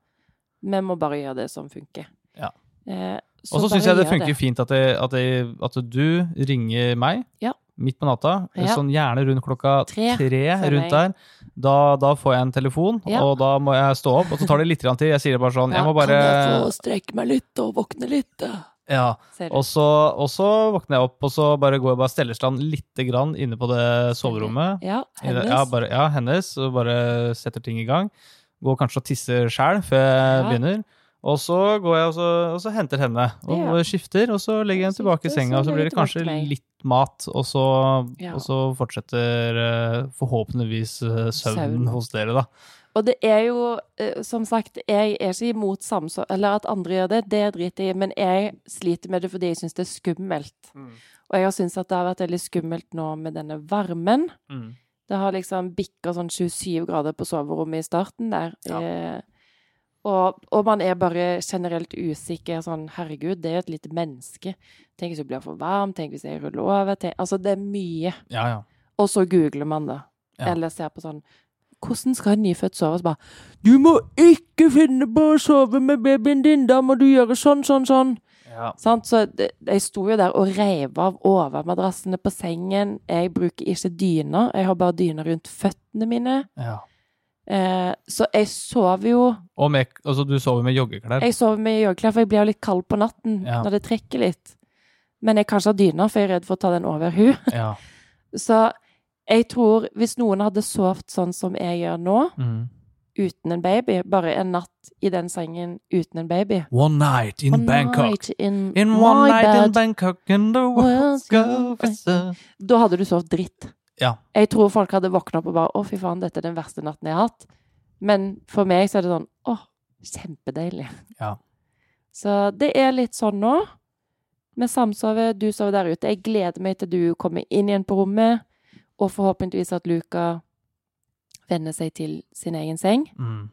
Vi må bare gjøre det som funker. Ja. Eh, Og så bare syns jeg det gjør funker fint at, jeg, at, jeg, at du ringer meg Ja. midt på natta, Ja. sånn gjerne rundt klokka tre, Tre, føler rundt der. jeg. Da, da får jeg en telefon, Ja. og da må jeg stå opp. Og så tar det litt grann tid. Jeg sier bare sånn Ja, Jeg må bare Kan jeg få strekke meg litt og våkne litt? da?» ja. Ser du. Og så, og så våkner jeg opp, og så bare går jeg bare stellerstand lite grann inne på det soverommet. Ja, I det- hennes. Ja, bare, ja, hennes. Og bare setter ting i gang. Går kanskje og tisser sjæl før jeg Ja. begynner. Og så går jeg og så, og så henter henne og Ja. skifter, og så legger jeg henne tilbake i Skifter, senga. så Og så legger blir det du tilbake kanskje til meg. litt mat, og så, Ja. og så fortsetter eh, forhåpentligvis eh, søvnen Søvn. hos dere, da. Og det er jo, eh, som sagt, jeg er ikke imot samsår, eller at andre gjør det, det driter jeg i, men jeg sliter med det fordi jeg syns det er skummelt. Og jeg har syntes at det har vært veldig skummelt nå med denne varmen. Det har liksom bikka sånn 27 grader på soverommet i starten der. Ja. Eh, og, og man er bare generelt usikker. Sånn, herregud, det er jo et lite menneske. Tenk hvis det blir for varmt, tenk hvis jeg ruller over. Tenk, altså, det er mye. Ja, ja. Og så googler man det. Ja. Eller ser på sånn Hvordan skal en nyfødt sove? Så bare Du må ikke finne på å sove med babyen din! Da må du gjøre sånn, sånn, sånn! ja. Sant? Så det, jeg sto jo der og reiv av overmadrassene på sengen. Jeg bruker ikke dyner. Jeg har bare dyner rundt føttene mine. ja. Eh, så jeg sover jo Og med, altså, du sover med joggeklær? Jeg sover med joggeklær, for jeg blir jo litt kald på natten Ja. når det trekker litt. Men jeg kan ikke ha dyner, for jeg er redd for å ta den over hu. Ja. Så jeg tror hvis noen hadde sovet sånn som jeg gjør nå, Mm. uten en baby, bare en natt i den sengen uten en baby One night in One Bangkok. night in, In my one night in bed. Bangkok and the world's go faster. Da hadde du sovet dritt. Ja. Jeg tror folk hadde våkna opp og bare 'Å, fy faen, dette er den verste natten jeg har hatt'. Men for meg så er det sånn 'Å, kjempedeilig'. Ja. Så det er litt sånn nå. Vi samsover, du sover der ute. Jeg gleder meg til du kommer inn igjen på rommet, og forhåpentligvis at Luca venner seg til sin egen seng. Mm.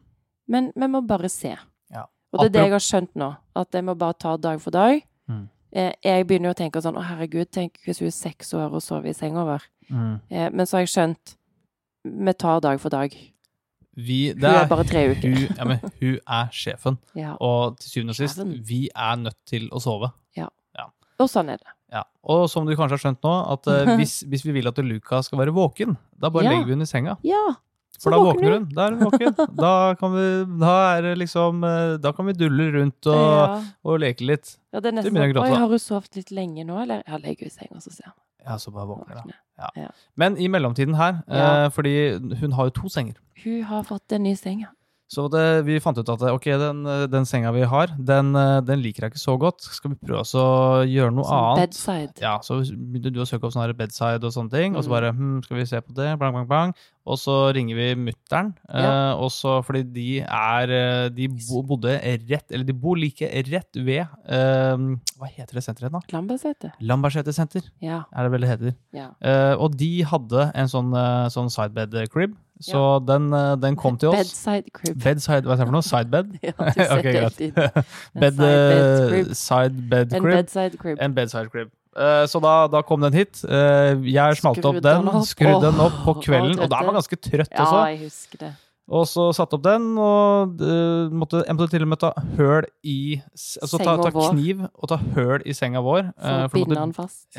Men vi må bare se. Ja. Og det er det jeg har skjønt nå, at jeg må bare ta dag for dag. Mm. Eh, Jeg begynner jo å tenke sånn 'Å, herregud, tenk hvis hun er seks år og sover i seng over'. Mm. Eh, Men så har jeg skjønt Vi tar dag for dag. Vi, det Hun er bare tre uker. Hun, ja, men hun er sjefen. Ja. Og til syvende og sist, Sjefen. vi er nødt til å sove. Og sånn er det. Ja. Og som du kanskje har skjønt nå, at eh, hvis, hvis vi vil at Luca skal være våken, da bare Ja. legger vi henne i senga. Ja. For da våkner hun. Da er hun våken. Da kan vi, da er det liksom, eh, da kan vi dulle rundt og, Ja. og leke litt. ja, det er nesten begynner jeg å sånn gråte, Oi, da. har hun sovet litt lenge nå, eller? Ja, legger hun i seng, og så ser hun. Ja, så bare våkner da. Våkner. Men i mellomtiden her, Ja. eh, fordi hun har jo to senger. Hun har fått en ny seng, ja. Så det, vi fant ut at eh, ok, den, den senga vi har, den, eh, den liker jeg ikke så godt. Skal vi prøve oss å gjøre noe Sånn annet? bedside. Ja, så begynte du å søke opp sånne her bedside og sånne ting, og så Mm. bare hm, skal vi se på det, bang, bang, bang. Og så ringer vi mutter'n, eh, og så, fordi de er eh, De bo, bodde rett, eller de bor like rett ved eh, Hva heter det senteret igjen, da? Lambertseter. Lambertseter senter, Ja. er det vel det heter. ja. Eh, og de hadde en sånn, eh, sånn sidebed-crib, så den, eh, den kom til oss. Bedside crib. Bedside, hva er det for noe? Sidebed? Ja, du ser Ok, det greit. helt inn. En Bed, sidebed crib. eh, sidebed En crib. bedside crib. En bedside crib. Eh, Så da, da kom den hit. Eh, Jeg smalt opp Skrudde den, den opp. skrudde den opp på Åh, kvelden, og og da var jeg ganske trøtt Ja, også. jeg husker det. Og så satte opp den, og eh, måtte, jeg måtte til og med ta høl i s- Altså ta, ta Senga vår. kniv og ta høl i senga vår. For eh, å for, binde måtte, den fast.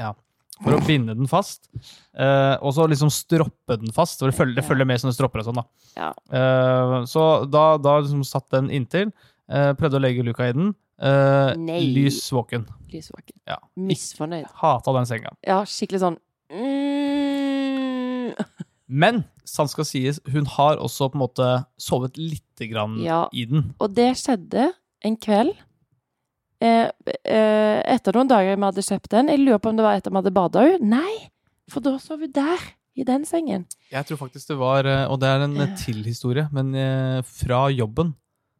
for å binde den fast. Eh, Og så liksom stroppe den fast. For det følger, det Ja. følger med sånne stropper og sånn, da. Ja. Eh, Så da, da liksom satt den inntil. eh, Prøvde å legge luka i den. eh, Nei. Lys våken. Lysvåken. Ja. Misfornøyd. Hata den senga. Ja, skikkelig sånn mm, Men sant skal sies, hun har også på en måte sovet lite grann Ja. i den. Og det skjedde en kveld. Eh, eh, etter noen dager vi hadde kjøpt den. Jeg lurer på om det var etter vi hadde bada òg. Nei, for da sov vi der. I den sengen. Jeg tror faktisk det var, eh, og det er en eh, tilhistorie, men eh, fra jobben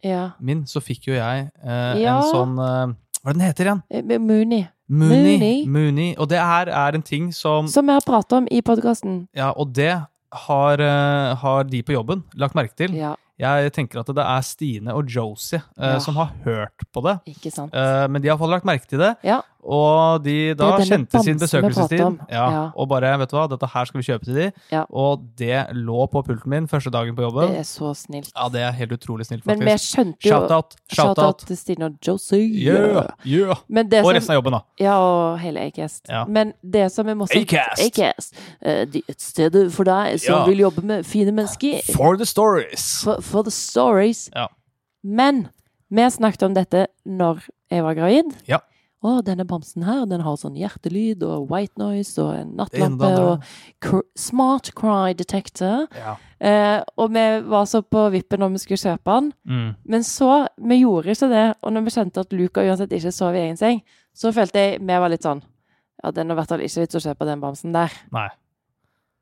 Ja. min så fikk jo jeg eh, Ja. en sånn eh, Hva er det den heter igjen? Eh, med Mooney. Mooney. Mooney. Mooney. Og det her er en ting som Som vi har pratet om i podkasten. Ja, og det har, eh, har de på jobben lagt merke til. Ja, Jeg tenker at det er Stine og Josie eh, Ja. som har hørt på det. ikke sant? Eh, men de har fått lagt merke til det, Ja. og de da Det er denne kjente sin bamsen vi prater besøkelsestid. om. Ja, Ja. Og bare vet du hva, dette her skal vi kjøpe til de. Ja. Og det lå på pulten min første dagen på Det jobben. er så snilt. Ja, det er helt utrolig snilt, Men vi faktisk. skjønte jo Shout-out! Shout-out! Shout-out til Stine og Josie. Yeah! yeah. Men det sånn- Og resten som av jobben, da. Ja, og hele Acast. Ja. Men det som er morsomt Acast. Acast. eh, de- Et sted for deg som Ja. vil jobbe med fine mennesker. For the stories! For, for the stories. Ja. Men vi snakket om dette når jeg var gravid. Ja. Å, denne bamsen her, den har sånn hjertelyd og white noise og en Enda nattlampe en og cr smart cry detector. Ja. Eh, og vi var så på vippen om vi skulle kjøpe den. Mm. Men så, vi gjorde ikke det, og når vi skjønte at Luca uansett ikke sov i egen seng, så følte jeg vi var litt sånn Ja, den er i hvert fall ikke vits å kjøpe den bamsen der. Nei.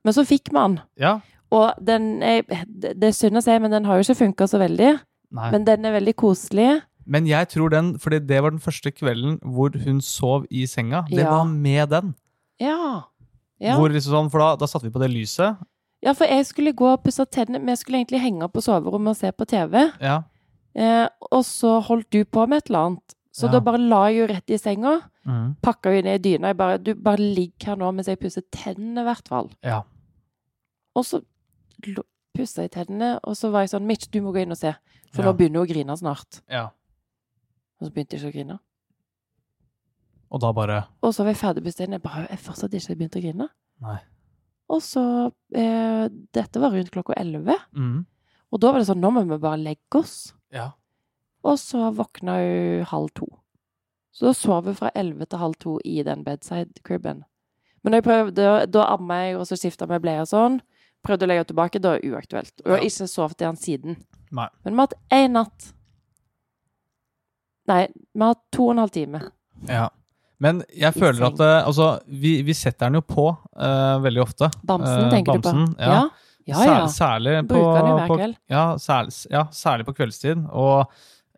Men så fikk vi den. Ja. Og den er, Det det er synd å si, men den har jo ikke funka så veldig. Nei. Men, Men den er veldig koselig. jeg tror den, fordi det var den første kvelden hvor hun sov i senga. Det Ja. var med den. Ja. Ja. Hvor liksom sånn, For da, da satte vi på det lyset. ja, for jeg skulle gå og pusse tennene. Vi skulle egentlig henge opp på soverommet og se på TV. Ja. Eh, og så holdt du på med et eller annet. Så Ja. da bare la jeg jo rett i senga. Mm. Pakka jo ned i dyna. Jeg bare, du bare ligg her nå mens jeg pusser tennene, i hvert fall. Ja. Og så lo- pussa jeg tennene, og så var jeg sånn Mitch, du må gå inn og se, for Ja. nå begynner hun å grine snart. ja. Og så begynte jeg ikke å grine. Og da bare Og så var jeg ferdig bestemt. Jeg bare, jeg fortsatt ikke begynt å grine. Nei. Og så eh, Dette var rundt klokka elleve. mm. Og da var det sånn Nå må vi bare legge oss. Ja. Og så våkna hun halv to. Så da sov hun fra elleve til halv to i den bedside-cribben. Men da jeg prøvde, da amma jeg, og så skifta vi bleie og sånn. Prøvde å legge henne tilbake, da er det uaktuelt. Og jeg har ikke sovet i han siden. Nei. Men vi har hatt én natt. Nei, vi har hatt to og en halv time. Ja. Men jeg I føler seng. at eh, altså, vi, vi setter den jo på eh, veldig ofte. Bamsen, Eh, tenker bamsen, du på? Ja, ja. ja. Sær- Særlig, på, Bruker den jo hver på, kveld. ja, særlig, ja, særlig på kveldstid. Og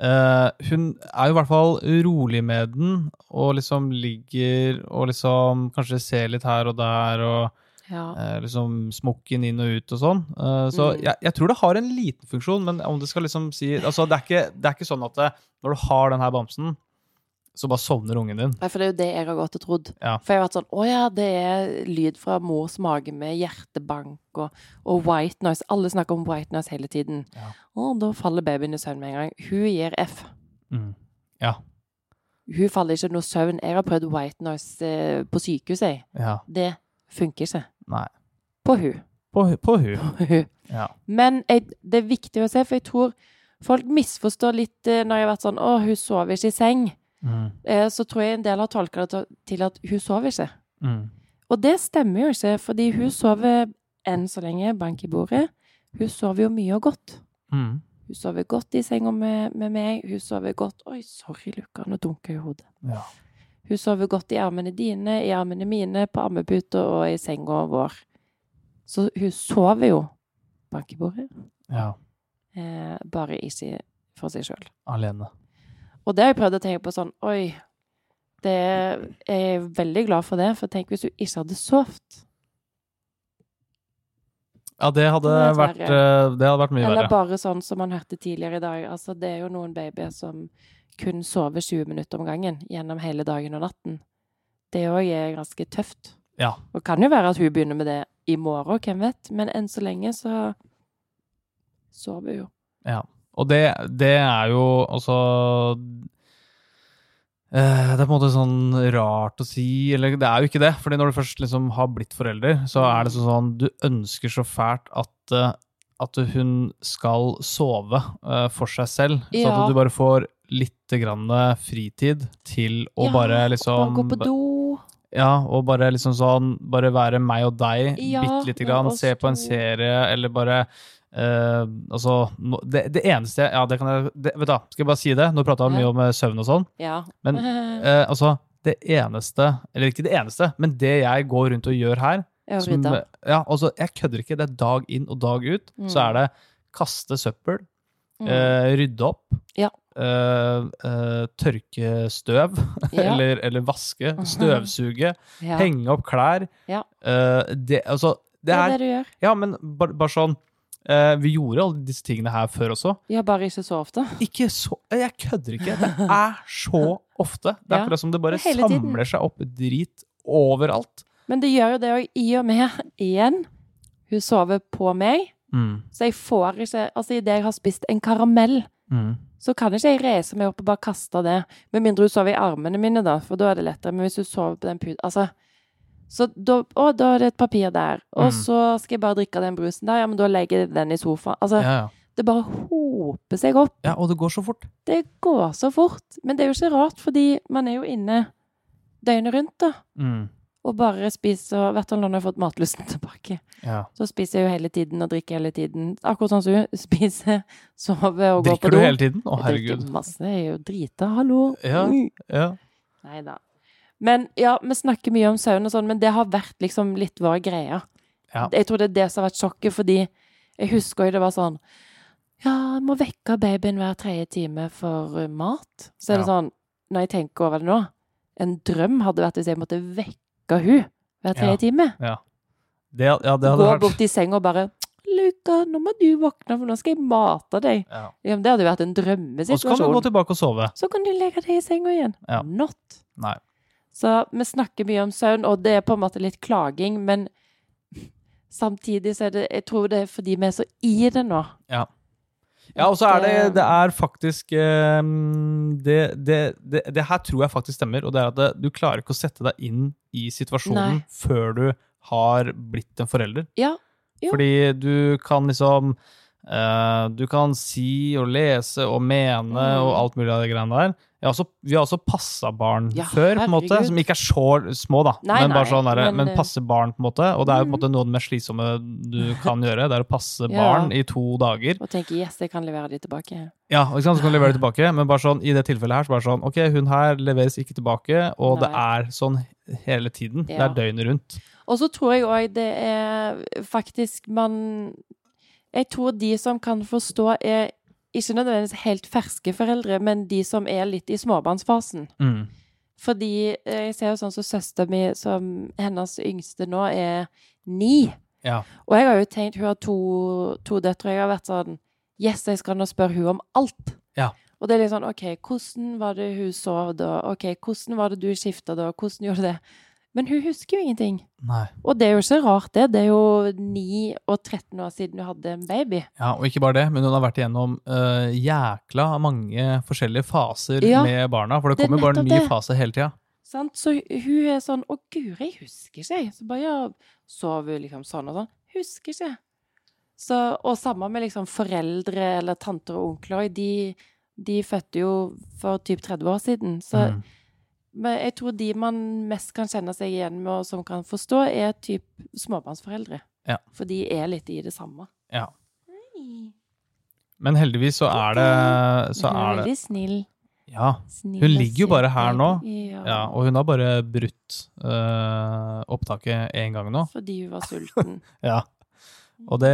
eh, hun er jo i hvert fall rolig med den, og liksom ligger og liksom kanskje ser litt her og der, og ja. eh, liksom smokken inn og ut og sånn. Eh, så Mm. jeg, jeg tror det har en liten funksjon, men om det skal liksom si Altså, det er ikke, det er ikke sånn at eh, når du har den her bamsen, så bare sovner ungen din. Nei, for det er jo det jeg har gått og trodd. Ja. For jeg har vært sånn Å ja, det er lyd fra mors mage med hjertebank og, og white noise. Alle snakker om white noise hele tiden. Ja. Og da faller babyen i søvn med en gang. Hun gir F. Mm. Ja. Hun faller ikke noe søvn. Jeg har prøvd white noise eh, på sykehuset, jeg. ja. Det funker ikke. Nei. På hun. På, hu- på hun. På hun. Ja. Men jeg, det er viktig å se, for jeg tror folk misforstår litt eh, når jeg har vært sånn Å, hun sover ikke i seng. Mm. Eh, så tror jeg en del har tolka det til- til at hun sover ikke. Mm. Og det stemmer jo ikke, fordi hun sover enn så lenge, bank i bordet. Hun sover jo mye og godt. Mm. Hun sover godt i senga med, med meg. Hun sover godt Oi, sorry, Luka, nå dunker jeg i hodet. Ja. Hun sover godt i armene dine, i armene mine, på ammeputa og i senga vår. Så hun sover jo bank i bordet, ja. eh, bare ikke for seg sjøl. Alene. Og det har jeg prøvd å tenke på sånn Oi, det er, jeg er veldig glad for det, for tenk hvis hun ikke hadde sovet. Ja, det hadde, Det er vært, verre. eh, det hadde vært mye Eller verre. bare sånn som man hørte tidligere i dag. Altså, det er jo noen babyer som kun sover 20 minutter om gangen gjennom hele dagen og natten. Det òg er eh, ganske tøft. Ja. Og kan jo være at hun begynner med det i morgen, hvem vet. Men enn så lenge så sover hun jo. Og det, det er jo altså eh, Det er på en måte sånn rart å si, eller det er jo ikke det. fordi når du først liksom har blitt forelder, så er det sånn sånn Du ønsker så fælt at eh, at hun skal sove eh, for seg selv, så Ja. at du bare får litt grann eh, fritid til å Ja, bare Bare liksom gå på do. Ja, og bare liksom sånn Bare være meg og deg Ja, bitte lite grann. og oss Se på en to. serie, eller bare eh, altså, nå- det, det eneste Ja, det kan jeg det, Vet du, hva, skal jeg bare si det? Nå prata vi Ja. mye om eh, søvn og sånn. Ja. Men, Eh, altså, det eneste Eller ikke det eneste, men det jeg går rundt og gjør her Jeg har som, rydda. ja, altså, Jeg kødder ikke. Det er dag inn og dag ut. Mm. Så er det kaste søppel, Mm. eh, rydde opp, Ja. eh, eh, tørke støv, Ja. Mhm. eller, eller vaske, støvsuge. Ja. Henge opp klær. Ja. Eh, det, altså, det Det er er det du gjør. Ja, men bare, bare sånn eh, Vi gjorde alle disse tingene her før også. Ja, bare ikke så ofte. Ikke så Jeg kødder ikke. Det er så ofte. Det er Ja. akkurat som det bare Det er hele tiden. samler seg opp drit overalt. Men det gjør jo det òg, i og med, igjen, hun sover på meg. Mm, Så jeg får ikke Altså, idet jeg har spist en karamell, mm. så kan ikke jeg reise meg opp og bare kaste det. Med mindre hun sover i armene mine, da, for da er det lettere. Men hvis hun sover på den puten Altså. Så da Å, da er det et papir der. Og Mm. så skal jeg bare drikke av den brusen der. Ja, men da legger jeg den i sofaen. Altså, Ja, ja. Det bare hoper seg opp. Ja, og det går så fort. Det går så fort. Men det er jo ikke rart, fordi man er jo inne døgnet rundt, da. Mm. Og bare spiser og Hvert fall når jeg har fått matlysten tilbake. Ja. Så spiser jeg jo hele tiden og drikker hele tiden. Akkurat sånn som hun. Spiser, sover og går på Drikker do. du hele tiden? Å, Jeg herregud. drikker masse. Jeg er jo drita. Hallo. Ja. Mm. Ja. Nei da. Men ja, vi snakker mye om sauen og sånn, men det har vært liksom litt vår greie. Ja. Jeg tror det er det som har vært sjokket, fordi jeg husker jo det var sånn Ja, jeg må vekke babyen hver tredje time for uh, mat. Så er det Ja. sånn, når jeg tenker over det nå En drøm hadde vært hvis jeg måtte vekke hun hver Ja. tredje time. Det, ja, det Gå hadde vært bort i senga og bare 'Luka, nå må du våkne, for nå skal jeg mate deg.' ja. Ja, men det hadde jo vært en Og så kan du gå drømmesituasjon. tilbake og sove. Så kan du legge deg i senga igjen. Ja. Not. Nei. Så vi snakker mye om søvn, og det er på en måte litt klaging, men samtidig så er det Jeg tror det er fordi vi er så i det nå. Ja, og så er det Det- Det er faktisk eh, det, det, det, det her tror jeg faktisk stemmer, og det er at det, du klarer ikke å sette deg inn i situasjonen Nei. før du har blitt en forelder. Ja. Jo. Fordi du kan liksom eh, Du kan si og lese og mene Mm. og alt mulig av de greiene der. Jeg har også, vi har også passa barn Ja, før, på en måte, herregud. som ikke er så små, da. Nei, men bare nei, sånn der, men, men, eh, mm. passe barn, på en måte. Og det er jo på en måte noe av det mest slitsomme du kan gjøre. Det er å passe Ja. barn i to dager. Og tenker 'yes, jeg kan levere de tilbake'. Ja, ikke sant? så kan du levere det tilbake, men bare sånn, i det tilfellet her, så bare sånn, ok, hun her leveres ikke tilbake, og det Nei. er sånn hele tiden. Det Ja. er døgnet rundt. Og så tror jeg òg det er faktisk man Jeg tror de som kan forstå, er ikke nødvendigvis helt ferske foreldre, men de som er litt i småbarnsfasen. Mm. Fordi eh, jeg ser jo sånn som søsteren min, som hennes yngste nå, er ni. Ja. Og jeg har jo tenkt, hun har to, to døtre, og jeg har vært sånn Yes, jeg skal nå spørre hun om alt. Ja. Og det er litt sånn OK, hvordan var det hun sov da? OK, hvordan var det du skifta da? Hvordan gjorde du det? Men hun husker jo ingenting. Nei. Og det er jo ikke rart, det. Det er jo 9 og 13 år siden hun hadde en baby. Ja, og ikke bare det, men hun har vært igjennom eh, jækla mange forskjellige faser Ja. med barna, for det Det er kommer bare nettopp nye det. faser hele tida. Sant? Så hun er sånn Å, guri, jeg husker ikke, jeg. Så bare ja, sov hun liksom sånn og sånn. Husker ikke. Så, og samme med liksom foreldre eller tanter og onkler. De, de fødte jo for typ 30 år siden. Så Mm. men jeg tror de man mest kan kjenne seg igjen med, og som kan forstå, er typ småbarnsforeldre. Ja. For de er litt i det samme. Ja. Nei. Men heldigvis så er det, så Men hun er det veldig snill. Ja. snill Hun og ligger jo søt bare her nå. baby. ja. Og hun har bare brutt eh, opptaket én gang nå. Fordi hun var sulten. Ja. Og, det,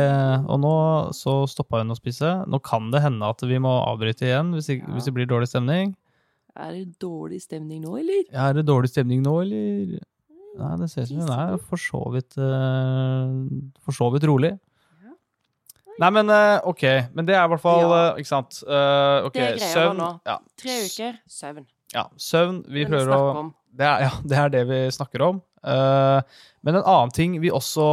og nå så stoppa hun å spise. Nå kan det hende at vi må avbryte igjen hvis, ikke, Ja. hvis det blir dårlig stemning. Er det dårlig stemning nå, eller? Ja, Er det dårlig stemning nå, eller? Mm. Nei, det ser ut som hun er for så vidt, eh, for så vidt rolig. Nei, men eh, ok. Men det er i hvert fall Ja. eh, Ikke sant. Eh, ok, Det er greia søvn. nå. Ja. Tre uker søvn. ja, søvn. Vi Det prøver å snakker om. Det er, ja, det er det vi snakker om. Eh, men en annen ting vi også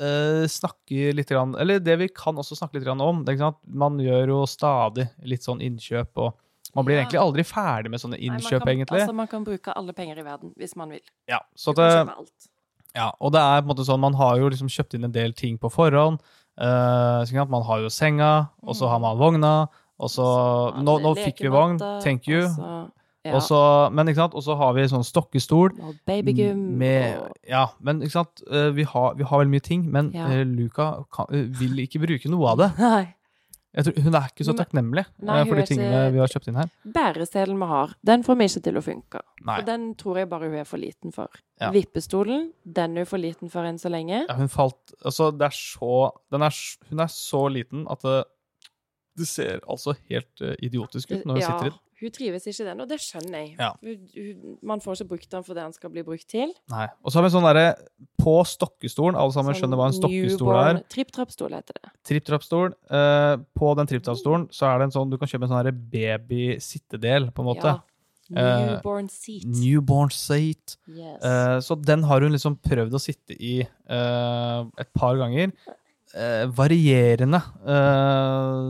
eh, snakker litt grann, Eller det vi kan også snakke litt grann om det er ikke sant? Man gjør jo stadig litt sånn innkjøp, og man blir Ja. egentlig aldri ferdig med sånne Nei, man innkjøp, kan, egentlig. Altså, man kan bruke alle penger i verden hvis man vil. ja, så Du at, kan det- kjøpe alt. ja, og det er på en måte sånn, man har jo liksom kjøpt inn en del ting på forhånd. eh, så ikke sant? man har jo senga, og så har Mm. man vogna, og så Alle eh, Nå, nå fikk vi vogn, lekematter, thank you. Og så, ja, Og så, men ikke sant, og så har vi sånn stokkestol. og babygym. med, og, Ja, men ikke sant? eh, Vi har, vi har veldig mye ting, men Ja. eh, Luca kan, eh, vil ikke bruke noe av det. Nei. Jeg tror, hun er ikke så Men- takknemlig eh, Nei, hun for er de tingene ikke- vi har kjøpt inn her. Bæreselen vi har, den får vi ikke til å funke. Nei, Og den tror jeg bare hun er for liten for. Ja. Vippestolen, den er hun for liten for enn så lenge. ja, hun falt Altså, det er så den er, s- Hun er så liten at det, det ser altså helt eh, idiotisk ut når hun ja, sitter i den. Hun trives ikke i den, og det skjønner jeg. Ja. Hun, hun, man får ikke brukt den for det den skal bli brukt til. Nei. Og så har vi en sånn derre på stokkestolen, alle sammen Sånn skjønner hva en stokkestol newborn- er. Tripp-trapp-stol heter det. Tripp-trapp-stol. Eh, på den tripp-trapp-stolen så er det en sånn Du kan kjøpe en sånn derre baby-sittedel, på en måte. Ja. Eh, Newborn seat. Newborn seat. yes. Eh, Så den har hun liksom prøvd å sitte i eh, et par ganger. Eh, varierende eh,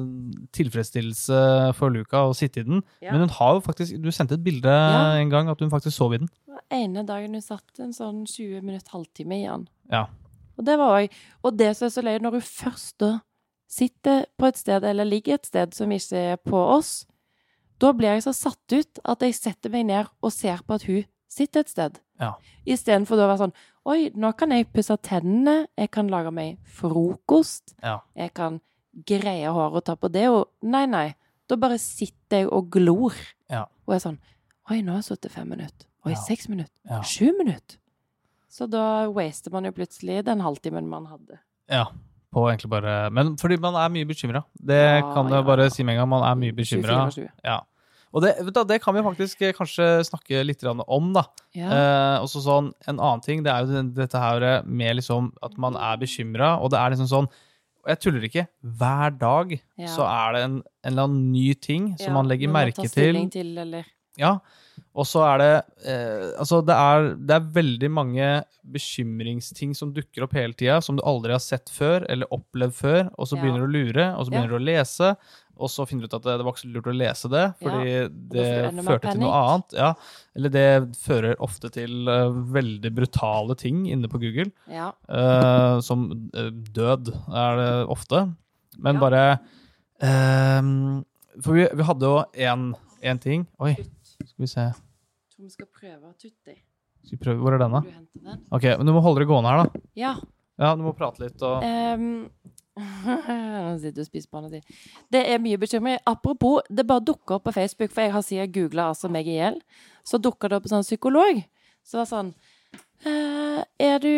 tilfredsstillelse for Luca å sitte i den. Ja. Men hun har jo faktisk Du sendte et bilde Ja. en gang at hun faktisk sov i den. ene dagen hun satt en sånn 20 minutt, halvtime i den. Ja. Og det var òg Og det som er så løye, når hun først da sitter på et sted eller ligger et sted som ikke er på oss, da blir jeg så satt ut at jeg setter meg ned og ser på at hun sitter et sted. Ja. Istedenfor da å være sånn Oi, nå kan jeg pusse tennene, jeg kan lage meg frokost, Ja. jeg kan greie håret og ta på det, og nei, nei. Da bare sitter jeg og glor. Ja. Og er sånn Oi, nå har jeg sittet fem minutter. Oi, Ja. seks minutter. Ja. Sju minutter. Så da waster man jo plutselig den halvtimen man hadde. ja. På egentlig bare Men fordi man er mye bekymra. Det Ja, kan jeg ja, bare ja. si med en gang. Man er mye bekymra. 24 og 7. Ja. Og det, vet du, det kan vi faktisk eh, kanskje snakke litt grann om, da. Ja. Eh, og så sånn, En annen ting det er jo den- dette her med liksom at man Mm. er bekymra, og det er liksom sånn og Jeg tuller ikke. Hver dag Ja. så er det en, en eller annen ny ting som Ja, man legger noe man merke tar til. stilling til eller, Ja, og så er det eh, Altså, det er, det er veldig mange bekymringsting som dukker opp hele tida, som du aldri har sett før eller opplevd før, og så Ja. begynner du å lure, og så begynner du å lese, og så finner du ut at det, det var ikke så lurt å lese det, fordi det får du enda mer førte til noe panikk. annet. Ja. Eller det fører ofte til eh, veldig brutale ting inne på Google. ja. Eh, som eh, død er det ofte. Men Ja. bare ehm, For vi, vi hadde jo én ting Oi, skal vi se Tror vi skal prøve å tutte. skal vi prøve, Hvor er den, da? Vil du hente den? Ok, men Du må holde det gående her, da. Ja. Ja, Du må prate litt. og... ehm, Nå sitter du og spiser banen din. Det er mye bekymring. Apropos, det bare dukker opp på Facebook, for jeg har siden googla altså meg i hjel. Så dukka det opp en sånn psykolog. Så det var sånn eh, Er du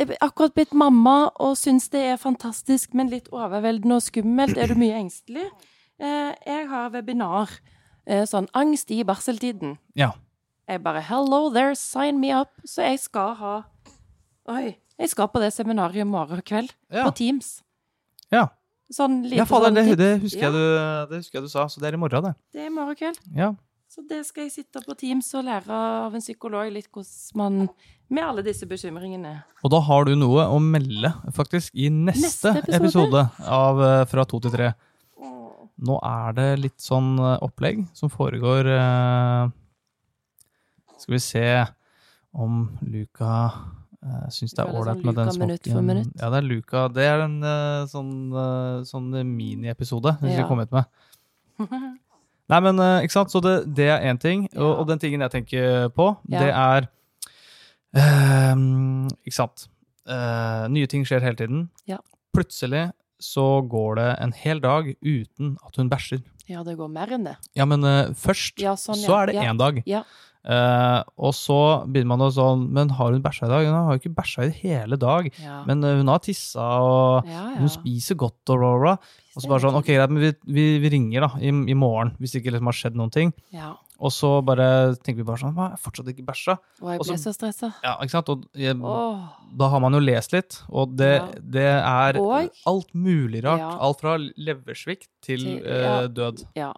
er akkurat blitt mamma og syns det er fantastisk, men litt overveldende og skummelt? Er du mye engstelig? Eh, jeg har webinar. eh, sånn angst i barseltiden. Ja. Jeg bare Hello there, sign me up. Så jeg skal ha Oi. Jeg skal på det seminaret i morgen kveld. Ja. På Teams. Ja. Sånn lite ja fader, sånn det, tips. det, husker Ja. jeg du, det husker jeg du sa, så det er i morgen, det. Det er i morgen kveld. Ja. Så det skal jeg sitte på Teams og lære av en psykolog litt hvordan man Med alle disse bekymringene. Og da har du noe å melde, faktisk, i neste, Neste episode, episode av eh, Fra to til tre. Åh. Nå er det litt sånn eh, opplegg som foregår eh, Skal vi se om Luca uh, syns det Vi er kaller det ålreit sånn med den Luca minutt for smokken. minutt. Ja, det er Luca. Det er en eh, sånn, eh, sånn miniepisode vi skal Ja. komme ut med. Nei, men eh, ikke sant? Så det, det er én ting. Og, og den tingen jeg tenker på, Ja. det er eh, Ikke sant. Eh, nye ting skjer hele tiden. Ja. Plutselig så går det en hel dag uten at hun bæsjer. Ja, det går mer enn det. Ja, men eh, først Ja, sånn, så ja. er det én Ja. dag. Ja. Eh, og så begynner man å sånn Men har hun bæsja i dag? Hun har jo ikke bæsja i hele dag. Ja. Men eh, hun har tissa, og ja, ja. hun spiser godt, og bla, bla, bla. Og så bare sånn, ok, greit, men vi, vi, vi ringer da, i, i morgen, hvis det ikke liksom har skjedd noen ting. Ja. Og så bare tenker vi bare sånn, hva, jeg har fortsatt ikke bæsja. Og jeg Og så- Mm. ble så stressa. Ja, ikke sant? Og jeg, Åh. da har man jo lest litt, og det, Ja. det er Og- alt mulig rart. Ja. Alt fra leversvikt til, Til- eh, ja. død. Ja.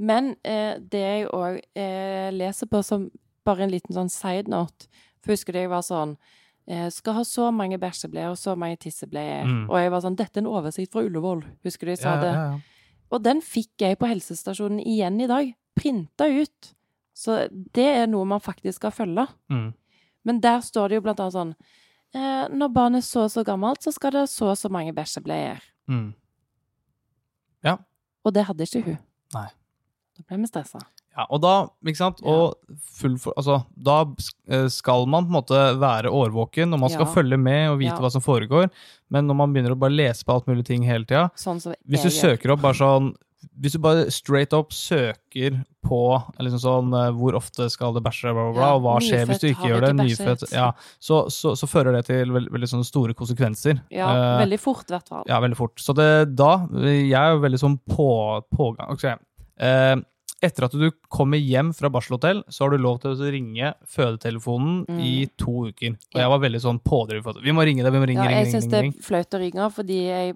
Men eh, det jeg òg eh, leser på som bare en liten sånn side note For jeg husker det jeg var sånn eh, Skal ha så mange bæsjebleier og så mange tissebleier. Mm. Og jeg var sånn Dette er en oversikt fra Ullevål. Husker du jeg sa Ja, det? ja, ja. Og den fikk jeg på helsestasjonen igjen i dag. Printa ut. Så det er noe man faktisk skal følge. Mm. Men der står det jo blant annet sånn eh, Når barnet er så og så gammelt, så skal det ha så og så mange bæsjebleier. Mm. Og det hadde ikke hun. Nei. Da ble vi stressa. Ja, og da, ikke sant, og full for, altså, da eh, skal man på en måte være årvåken, og man skal Ja. følge med og vite Ja. hva som foregår, men når man begynner å bare lese på alt mulig ting hele tida, Sånn som hvis du jeg gjør. søker opp bare sånn, hvis du bare straight up søker på liksom sånn, eh, hvor ofte skal det bæsje, bla, bla, bla, Ja, og hva skjer hvis du nyfødt ikke har gjør det, ikke nyfødt, bæsjet. ja, så, så, så fører det til veld, veldig sånne store konsekvenser. Ja, Eh, veldig fort, i hvert fall. ja, veldig fort. Så det, da Jeg er jo veldig sånn på, pågang Ok, eh, Etter at du kommer hjem fra barselhotell, så har du lov til å ringe fødetelefonen Mm. i to uker. Og Ja. jeg var veldig sånn pådriver for at vi må ringe det, vi må ringe, Ja, jeg ringe, syns ringe. det er ringe. flaut å ringe, fordi jeg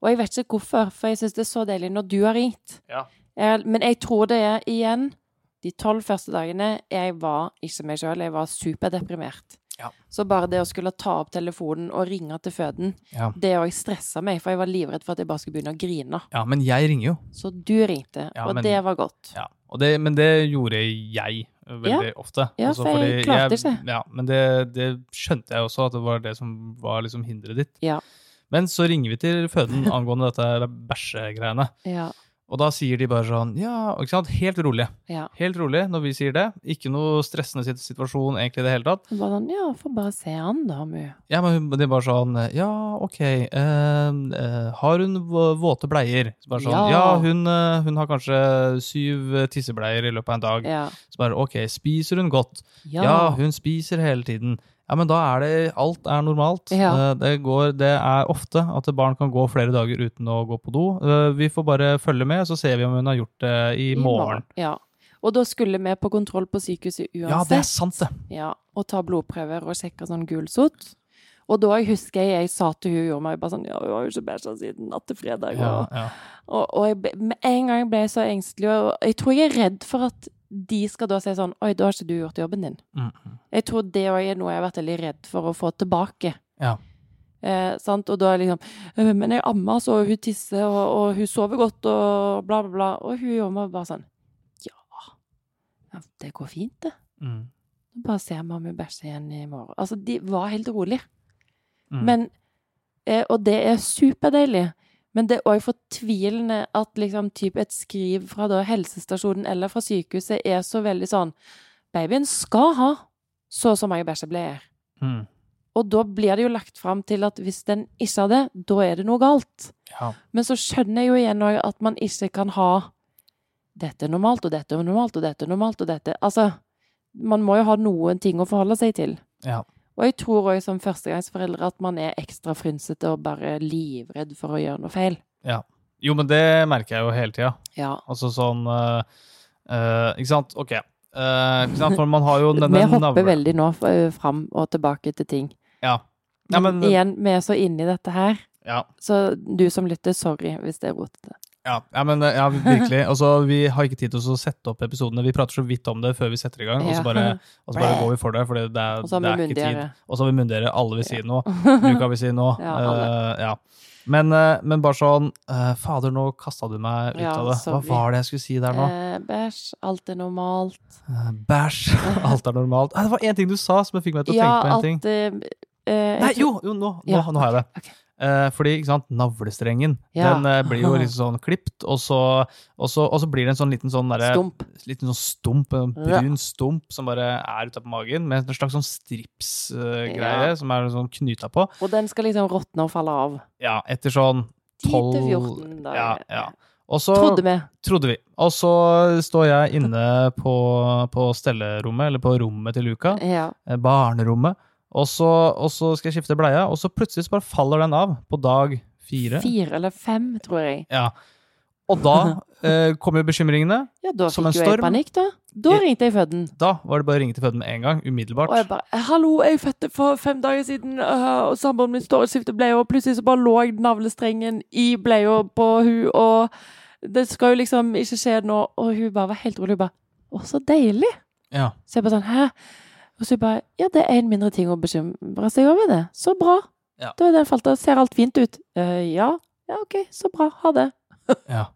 Og jeg vet ikke hvorfor, for jeg syns det er så deilig når du har ringt. Ja. Jeg, men jeg tror det er igjen De tolv første dagene jeg var ikke meg sjøl, jeg var superdeprimert. Ja. Så bare det å skulle ta opp telefonen og ringe til føden, Ja. det òg stressa meg, for jeg var livredd for at jeg bare skulle begynne å grine. Ja, men jeg ringer jo. Så du ringte, Ja, og men- det var godt. Ja. Og det, men det gjorde jeg eh, veldig ofte. Ja, Også for fordi jeg klarte ikke. Ja, men det, det skjønte jeg også, at det var det som var liksom hinderet ditt. Ja. Men så ringer vi til føden angående dette bæsjegreiene. Ja. Og da sier de bare sånn Ja, ikke sant? Helt rolig. ja. Helt rolig når vi sier det. Ikke noe stressende sit- situasjon egentlig i det hele tatt. Så Bare sånn, ja, får bare se han da, mu. Ja, men hun- det er bare sånn Ja, ok. eh, eh, har hun vå- våte bleier? Så bare sånn, ja, Ja. hun, eh, hun har kanskje syv eh, tissebleier i løpet av en dag. Ja. Så bare ok, spiser hun godt? Ja. hun spiser hele tiden. Ja, men da er det Alt er normalt. Ja. Eh, Det, går, det er ofte at barn kan gå flere dager uten å gå på do. Eh, Vi får bare følge med, så ser vi om hun har gjort det i, morgen. Ja. Og da skulle vi på kontroll på sykehuset uansett. Ja, det er sant, det. Ja, og ta blodprøver og sjekke sånn gulsott. Og da jeg husker jeg jeg sa til hun gjorde meg bare sånn Ja, hun har jo ikke bæsja siden natt til fredag. Ja, Og, ja. og, og jeg, ble- med en gang ble jeg så engstelig, og jeg tror jeg er redd for at de skal da si sånn Oi, da har ikke du gjort jobben din. Mm. Jeg tror det òg er noe jeg har vært veldig redd for å få tilbake. Ja. Eh, sant? Og da er det liksom «Øh, Men jeg ammer, så hun tisser, og, og hun sover godt, og bla, bla, bla. Og hun gjør meg bare sånn Ja, ja, det går fint, det. Mm. Bare se om hun bæsjer igjen i morgen. Altså, de var helt rolig. Mm. Men, eh, og det er superdeilig. Men det er òg fortvilende at liksom, typ et skriv fra da, helsestasjonen eller fra sykehuset er så veldig sånn Babyen skal ha så og så mange bæsjebleier. mm. Og da blir det jo lagt fram til at hvis den ikke har det, da er det noe galt. Ja. Men så skjønner jeg jo igjen også at man ikke kan ha dette er normalt, og dette er normalt, og dette er normalt, og dette Altså, man må jo ha noen ting å forholde seg til. Ja. Og jeg tror òg som førstegangsforeldre at man er ekstra frynsete og bare livredd for å gjøre noe feil. Jo, men det merker jeg jo hele tida. Ja. Altså sånn eh, eh, Ikke sant? Ok. Eh, ikke sant? For man har jo denne Vi hopper navlen- veldig nå eh, fram og tilbake til ting. Ja. Ja, men, igjen, vi er så inne i dette her, ja, så du som lytter, sorry hvis det er rotete. ja, ja, men eh, ja, virkelig. Altså, vi har ikke tid til å sette opp episodene. Vi prater så vidt om det før vi setter i gang, og så Ja. bare, og så bare går vi for det. For det er, Og så har det vi er ikke tid. myndigere. Og så har vi myndigere. Alle vil si noe. Luka vil si noe. Ja, alle. Eh, ja. Men, eh, men bare sånn eh, Fader, nå kasta du meg ut Ja, av det. Hva sorry. var det jeg skulle si der nå? Eh, bæsj, alt er normalt. Eh, Bæsj. Alt er normalt. Eh, Det var én ting du sa som jeg fikk meg til å Ja, tenke på en ting. alt eh, eh, Nei, jeg jo, jo nå, nå, Ja, nå har jeg det. ok. Eh, fordi ikke sant, navlestrengen Ja. den eh, blir jo liksom sånn klipt, og så, og, så, og så blir det en sånn liten sånn tror- derre- Stump. liten sånn stump, en Ja. brun stump som bare er ute på magen, med en slags sånn stripsgreie Ja. som er sånn knyta på. Og den skal liksom råtne og falle av. Ja, etter sånn 10-14 dager. Ja, ja. Og så Trodde vi. trodde vi. Og så står jeg inne på, på stellerommet, eller på rommet til Luka, Ja. eh, barnerommet, og så, og så skal jeg skifte bleia, og så plutselig så bare faller den av på dag fire. Fire eller fem, tror jeg. Ja. Og da eh, kom jo bekymringene. Ja, da Som en fikk jo jeg storm. panikk, da. Da Ja. ringte jeg føden. Da var det bare å ringe til føden med en gang. Umiddelbart. Og jeg bare eh, 'Hallo, jeg fødte for fem dager siden, øh, og samboeren min står og skifter bleie', og plutselig så bare lå navlestrengen i bleia på hun, og det skal jo liksom ikke skje nå. Og hun bare var helt rolig. Hun bare 'Å, så deilig'. Ja. Så jeg bare sånn, hæ? Og så bare, ja, det er en mindre ting å bekymre seg over det. Så bra. Ja. Da er den falt av, ser alt fint ut. «Eh, ja, ja, ok, så bra, ha det. Ja.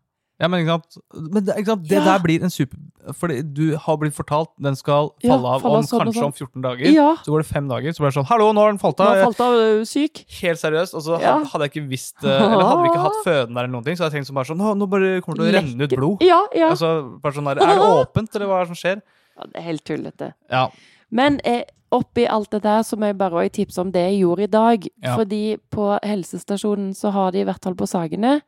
ja, men ikke sant, men, det- ikke sant? det Ja. der blir en super... Fordi du har blitt fortalt den skal Ja, falle av falle av om sånn og kanskje sånn. om 14 dager. Ja, Så går det fem dager, så blir det sånn Hallo, nå har den falt nå av. falt av, er du syk. Helt seriøst. Og så Ja. had- hadde jeg ikke visst eh, Eller hadde vi ikke hatt føden der, eller noen ting, så hadde jeg tenkt sånn bare sånn Nå, nå bare kommer det til å renne ut Lekker. blod. Ja, ja. Altså, bare sånn der, Er det åpent, eller hva er det som skjer? ja det er helt tullete. Ja. Men eh, oppi alt det der så må jeg bare også tipse om det jeg gjorde i dag. Ja. Fordi på helsestasjonen så har de i hvert fall på Sagene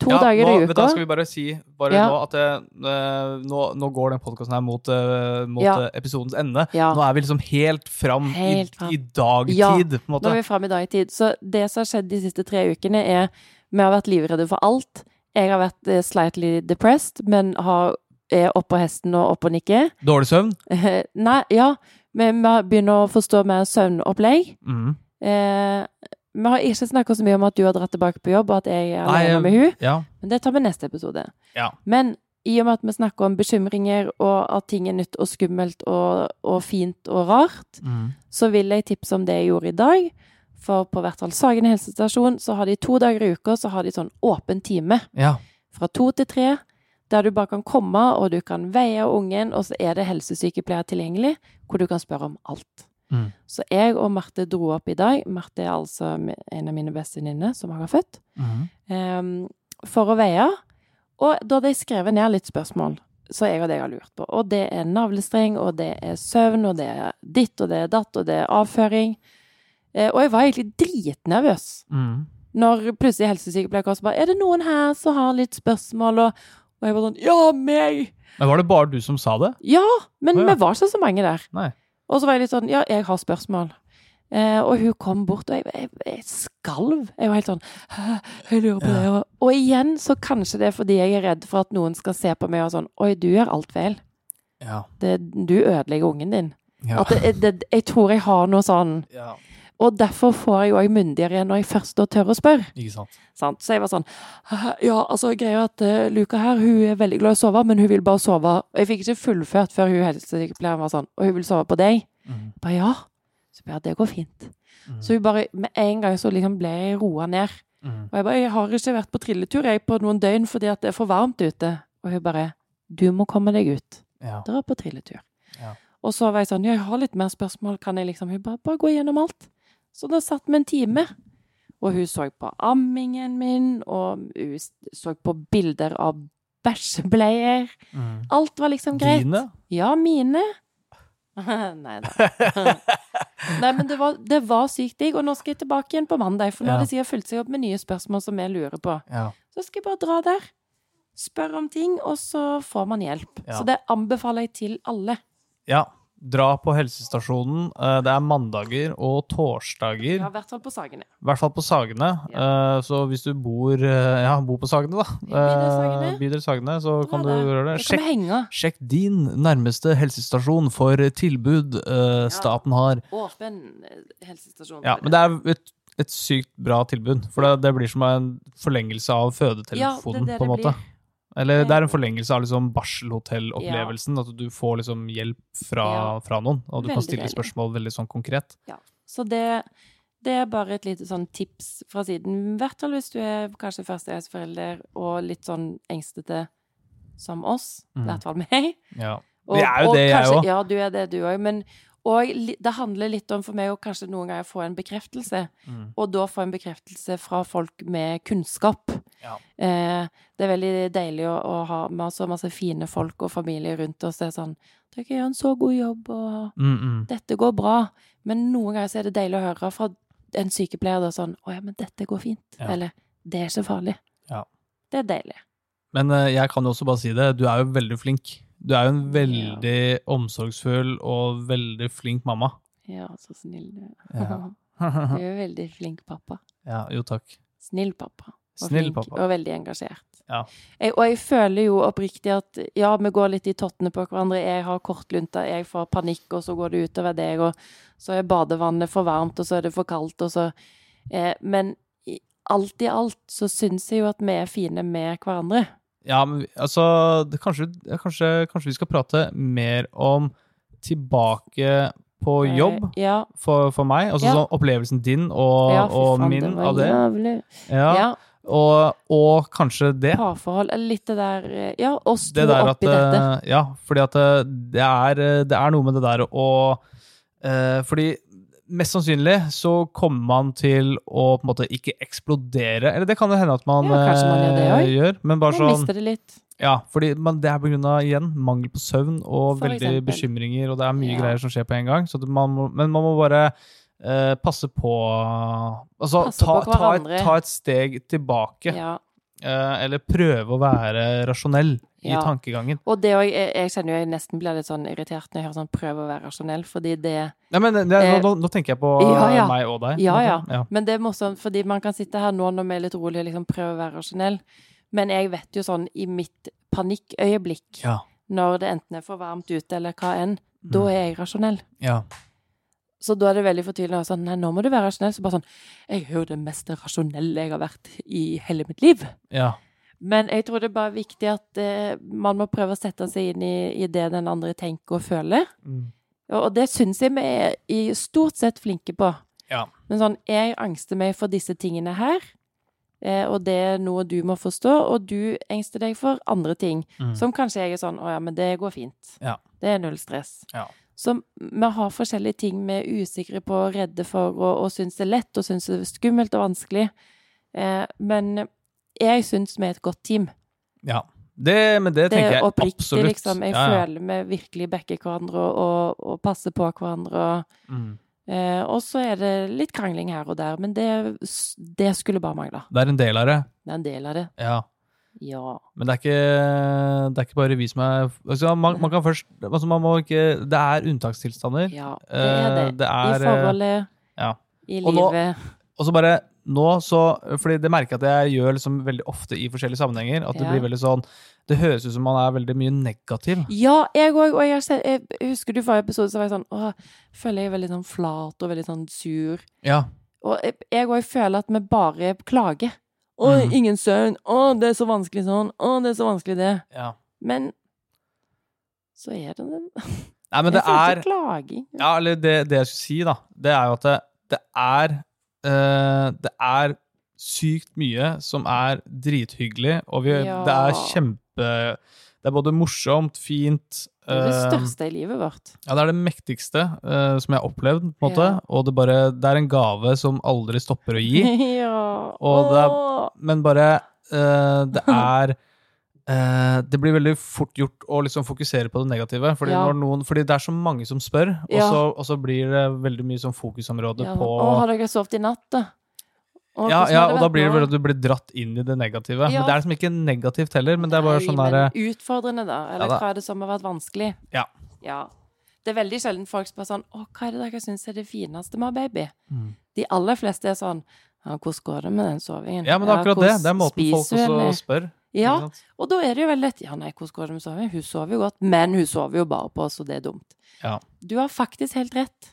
to Ja, dager nå, i vet du hva, uka. skal vi bare si bare Ja. nå at det, eh, nå, nå går den podkasten her mot, eh, mot Ja. eh, episodens ende. Ja. Nå er vi liksom helt fram, Helt i, fram. i dagtid, Ja, på en Nå måte. er vi fremme i dag i tid. Så det som har skjedd de siste tre ukene, er vi har vært livredde for alt. Jeg har vært eh, slightly depressed, men har, er oppå hesten og oppå nikket. Dårlig søvn. Eh, Nei, ja. Men vi har- begynner å forstå mer søvnopplegg. Mm. Eh, vi har ikke snakka så mye om at du har dratt tilbake på jobb, og at jeg er Nei, alene eh, med hun. Ja. Men det tar vi neste episode. Ja. Men i og med at vi snakker om bekymringer, og at ting er nytt og skummelt og, og fint og rart, Mm. så vil jeg tipse om det jeg gjorde i dag. For på hvert fall Sagen helsestasjon så har de to dager i uka så har de sånn åpen time ja. fra to til tre. Der du bare kan komme, og du kan veie ungen, og så er det helsesykepleier tilgjengelig, hvor du kan spørre om alt. Mm. Så jeg og Marte dro opp i dag. Marte er altså en av mine beste venninner som jeg har født. Mhm. ehm, for å veie. Og da hadde jeg skrevet ned litt spørsmål så jeg og deg har lurt på. Og det er navlestreng, og det er søvn, og det er ditt, og det er datt, og det er avføring. Eh, og jeg var egentlig dritnervøs Mhm. når plutselig helsesykepleier kom og bare 'Er det noen her som har litt spørsmål?' Og, og jeg var sånn 'Ja, meg!' Men var det bare du som sa det? Ja, men Å, ja. vi var ikke så mange der. Nei. Og så var jeg litt sånn 'Ja, jeg har spørsmål'. Eh, og hun kom bort, og jeg, jeg, jeg skalv. Jeg var helt sånn «Hæ, 'Jeg lurer på Ja. det.' Og, og igjen så kanskje det er fordi jeg er redd for at noen skal se på meg og sånn 'Oi, du gjør alt feil. Ja. Det, du ødelegger ungen din.' Ja. At det, det, jeg tror jeg har noe sånn. ja. Og derfor får jeg jo òg myndigere når jeg først da tør å spørre. Ikke sant. Sant? Så jeg var sånn Ja, altså, greia er at eh, Luka her, hun er veldig glad i å sove, men hun vil bare sove Og jeg fikk ikke fullført før hun helsesykepleieren var sånn Og hun vil sove på deg. Mhm. Jeg Bare ja. Så jeg bare, det går fint. Mhm. Så hun bare Med en gang så liksom ble jeg roa ned. Mhm. Og jeg bare Jeg har ikke vært på trilletur jeg på noen døgn fordi at det er for varmt ute. Og hun bare Du må komme deg ut. Ja. Dra på trilletur. Ja. Og så var jeg sånn, ja, jeg har litt mer spørsmål, kan jeg liksom Hun bare, bare gå gjennom alt. Så da satt vi en time. Og hun så på ammingen min, og hun s- så på bilder av bæsjebleier. Mhm. Alt var liksom greit. Dine? Ja, mine. Nei da. Nei, men det var, det var sykt digg. Og nå skal jeg tilbake igjen på mandag, for nå har Ja. det sikkert fulgt seg opp med nye spørsmål som jeg lurer på. Ja. Så skal jeg bare dra der. Spørre om ting, og så får man hjelp. Ja. Så det anbefaler jeg til alle. ja. Dra på helsestasjonen. Eh, Det er mandager og torsdager. Ja, i hvert fall på Sagene. I hvert fall på Sagene. Eh, Så hvis du bor, eh, ja, bor på Sagene, da. Bydel Sagene. Eh, Bydel Sagene, så Dra kan du der. gjøre det. Jeg Sjekk, kommer henge. sjekk din nærmeste helsestasjon for tilbud eh, staten har. Åpen eh, helsestasjon. Ja, men det er et, et sykt bra tilbud. For det, det blir som en forlengelse av fødetelefonen, Ja, det er det på en det måte. blir. Eller det er en forlengelse av liksom barselhotellopplevelsen. At du får liksom hjelp fra, Ja. fra noen, og du Veldig kan stille deilig. spørsmål veldig sånn konkret. Så det, det er bare et lite sånn tips fra siden. I hvert fall hvis du er kanskje førstegangsforelder og litt sånn engstete som oss. I Mm. hvert fall meg. Ja. Og, Det er jo og det, jeg kanskje- også. Ja, du er det, du òg. Men og li- det handler litt om for meg å kanskje noen ganger få en bekreftelse. Mm. Og da få en bekreftelse fra folk med kunnskap. Ja. Eh, det er veldig deilig å, å ha med så masse fine folk og familie rundt oss. Det er sånn Dere gjør en så god jobb, og Mm -mm. dette går bra. Men noen ganger så er det deilig å høre fra en sykepleier da sånn Å ja, men dette går fint. Ja. Eller det er ikke farlig. Ja. Det er deilig. Men eh, jeg kan jo også bare si det, du er jo veldig flink. Du er jo en veldig omsorgsfull og veldig flink mamma. Ja, så snill du er. Ja, Du er veldig flink pappa. ja jo takk. Snill pappa. Og Snill flink pappa. og veldig engasjert. Ja. Jeg, og jeg føler jo oppriktig at ja, vi går litt i tottene på hverandre. Jeg har kortlunta, jeg får panikk, og så går det utover deg, og så er badevannet for varmt, og så er det for kaldt, og så eh, Men i, alt i alt så syns jeg jo at vi er fine med hverandre. Ja, men vi- altså det, kanskje, ja, kanskje, kanskje vi skal prate mer om tilbake på Eh, jobb Ja. for, for meg. Altså Ja. sånn opplevelsen din og, ja, fy og faen, min var av det. Jævlig. Ja. Ja. Og, og kanskje det. Parforhold, eller litt det der eh, Ja, oss to det der at oppi dette. eh, Ja, fordi at eh, det er, eh, det er noe med det der å eh, Fordi mest sannsynlig så kommer man til å på en måte ikke eksplodere. Eller det kan jo hende at man, Ja, kanskje man gjør det eh, også. gjør, men bare Man sånn mister det litt. Ja, fordi man, det er på grunn av igjen mangel på søvn og For veldig eksempel. bekymringer, og det er mye Ja. greier som skjer på en gang. Så det, man må, men man må bare eh, passe på Altså Passe ta, på ta, et, hverandre. ta et steg tilbake, Ja. eh, eller prøve å være rasjonell i Ja. tankegangen. Og det òg Jeg jeg kjenner jo jeg nesten blir litt sånn irritert når jeg hører sånn 'prøv å være rasjonell', fordi det Nei, men det, Eh, nå, nå tenker jeg på ja, ja. meg og deg. på en Ja, ja. måte. Men det er morsomt, fordi man kan sitte her nå når vi er litt rolige, liksom 'prøv å være rasjonell', men jeg vet jo sånn i mitt panikkøyeblikk, Ja, når det enten er for varmt ute eller hva enn, da Mm. er jeg rasjonell. ja. Så da er det veldig fortvilende å være sånn Nei, nå må du være rasjonell. Så bare sånn Jeg er jo det mest rasjonelle jeg har vært i hele mitt liv. ja. Men jeg tror det er bare viktig at eh, man må prøve å sette seg inn i, i det den andre tenker og føler. Mm. Og, og det syns jeg vi er i stort sett flinke på. Ja. Men sånn Jeg angster meg for disse tingene her. eh, Og det er noe du må forstå, og du engster deg for andre ting. Mm. Som kanskje jeg er sånn Å ja, men det går fint. Ja. Det er null stress. Ja. Så vi har forskjellige ting vi er usikre på, redde for, og, og syns er lett, og syns er skummelt og vanskelig. Eh, men jeg syns vi er et godt team. Ja. Det, men det Det tenker er jeg oppriktig, absolutt. liksom. Jeg Ja, ja. føler vi virkelig backer hverandre og, og, og passer på hverandre. Og, Mm. eh, og så er det litt krangling her og der, men det, det skulle bare mangle. Det er en del av det. Det er en del av det. Ja. Ja. Men det er ikke, det er ikke bare vi som er altså man, man kan først altså man må ikke, Det er unntakstilstander. ja det er det. Eh, det I er, eh, forholdet, ja. i Og nå- livet. Og så bare nå, så fordi det merker jeg at jeg gjør liksom veldig ofte i forskjellige sammenhenger. At det Ja. blir veldig sånn Det høres ut som man er veldig mye negativ. Ja, jeg òg. Og jeg, har sett- jeg husker du forrige episode, så var jeg sånn Åh, føler jeg er veldig sånn flat og veldig sånn sur. Ja. Og jeg- jeg òg føler at vi bare klager. Å, Mhm. ingen søvn. Å, det er så vanskelig sånn. Å, det er så vanskelig det. ja. Men så er det den. Nei, men det jeg føler er ikke klaging. Ja, eller det, det jeg skulle si, da, det er jo at det, det er eh, Det er sykt mye som er drithyggelig, og vi, Ja. det er kjempe Det er både morsomt, fint Det er det eh, største i livet vårt. Ja, det er det mektigste eh, som jeg har opplevd, på en måte. Ja. Og det, bare, det er en gave som aldri stopper å gi. ja. Og det er- Åh. Men bare eh, Det er eh, Det blir veldig fort gjort å liksom fokusere på det negative. Fordi, Ja. når noen, fordi det er så mange som spør, og, Ja. så, og så blir det veldig mye sånn fokusområde ja, på Å, har dere sovet i natt, da? Å, ja, hvordan ja, har det og da vært blir det nå? vel at du blir dratt inn i det negative. Ja. Men det er liksom ikke negativt heller, men det er bare sånn Nei, derre men Utfordrende, da. Ja, Eller da. hva er det som har vært vanskelig? Ja. ja. Det er veldig sjelden folk spør sånn Å, hva er det dere syns er det fineste med å ha baby? Mm. De aller fleste er sånn Ja, hvordan går det med den sovingen? Ja, men det er akkurat det. hvordan Det er måten folk spiser hun, også eller?» spør. ikke Ja, sant? og da er det jo veldig lett. Ja, nei, hvordan går det med sovingen? Hun sover jo godt, men hun sover jo bare på oss, og det er dumt. Ja. Du har faktisk helt rett.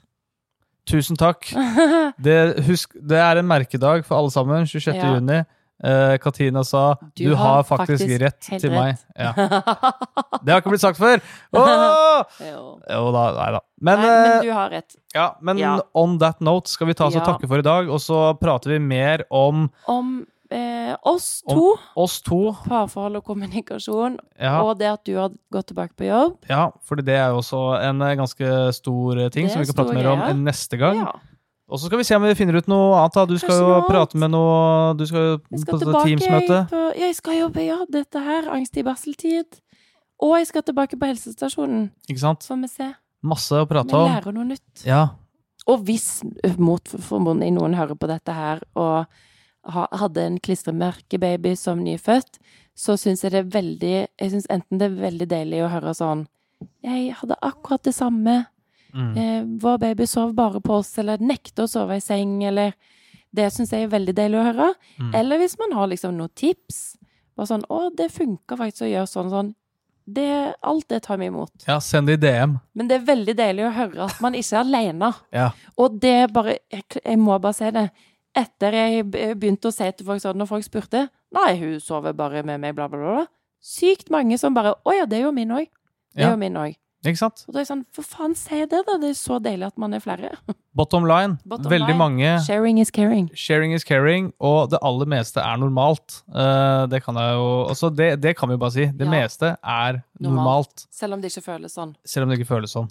Tusen takk. Det, husk, det er en merkedag for alle sammen. 26. Ja. juni. Eh, Katina sa du, har faktisk, rett helt til meg. rett. Ja. Det har ikke blitt sagt før! Åh! Jo. Jo da, nei da. Men, nei, men eh, du har rett. ja, men ja. on that note skal vi ta oss og Ja. takke for i dag, og så prater vi mer om Om eh, oss Om- to, oss to. parforhold og kommunikasjon, Ja. og det at du har gått tilbake på jobb. Ja, for det er jo også en eh, ganske stor eh, ting Det er som vi kan prate stor mer om greie. neste gang. Ja. Og så skal vi se om vi finner ut noe annet. da. Du skal Kanskje jo noe prate med noe Du skal jo Jeg på skal dette tilbake Teams-møte. på Jeg skal jobbe på jobb, dette her. Angst i barseltid. Og jeg skal tilbake på helsestasjonen. Ikke sant? Så får vi se. Masse å Vi prate om. lærer noe nytt. Ja. Og hvis mot formodning noen hører på dette her og ha- hadde en klistremerkebaby som nyfødt, så syns jeg det er veldig Jeg syns enten det er veldig deilig å høre sånn Jeg hadde akkurat det samme. Mm. Eh, vår baby sov bare på oss, eller nekter å sove i seng, eller Det syns jeg er veldig deilig å høre. Mm. Eller hvis man har liksom noen tips. Bare sånn 'Å, det funker faktisk å gjøre sånn og sånn'. Det, alt det tar vi imot. Ja, send det i DM. Men det er veldig deilig å høre at man ikke er aleine. Ja. Og det er bare jeg, jeg må bare si det. Etter jeg be- begynte å si til folk sånn, når folk spurte 'Nei, hun sover bare med meg', bla, bla, bla. bla. Sykt mange som bare 'Å ja, det er jo min òg'. Det Ja. er jo min òg. Ikke sant? Og da er jeg sånn For faen, si det, da. Det er så deilig at man er flere. Bottom line. Bottom Veldig line. mange. Sharing is caring. Sharing is caring, og det aller meste er normalt. Eh, det kan jeg jo Altså, det, det kan vi jo bare si. Det Ja. meste er normalt. Normalt. Selv om det ikke føles sånn. Selv om det ikke føles sånn.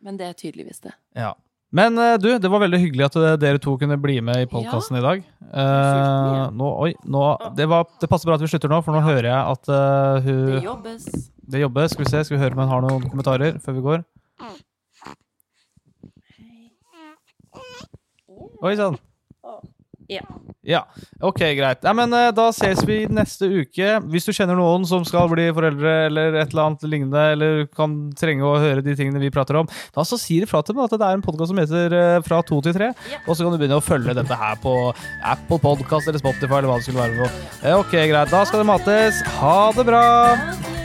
Men det er tydeligvis det. Ja. Men eh, du, det var veldig hyggelig at eh, dere to kunne bli med i podkasten i dag. Eh, mye. nå, oi, nå, det, var, det passer bra at vi slutter nå, for nå hører jeg at eh, Det hun jobbes. Det jobber. Skal vi se, skal vi høre om hun har noen kommentarer før vi går? Oi sann. Ja. Ja. Ok, greit. Nei, men eh, da ses vi neste uke. Hvis du kjenner noen som skal bli foreldre eller et eller annet lignende, eller kan trenge å høre de tingene vi prater om, da så sier ifra til meg at det er en podkast som heter eh, Fra to til tre. Ja. Og så kan du begynne å følge dette her på Apple Podcast eller Spotify eller hva det skulle være. for noe. Eh, Ok, greit. Da skal det mates. Ha det bra. Ha det.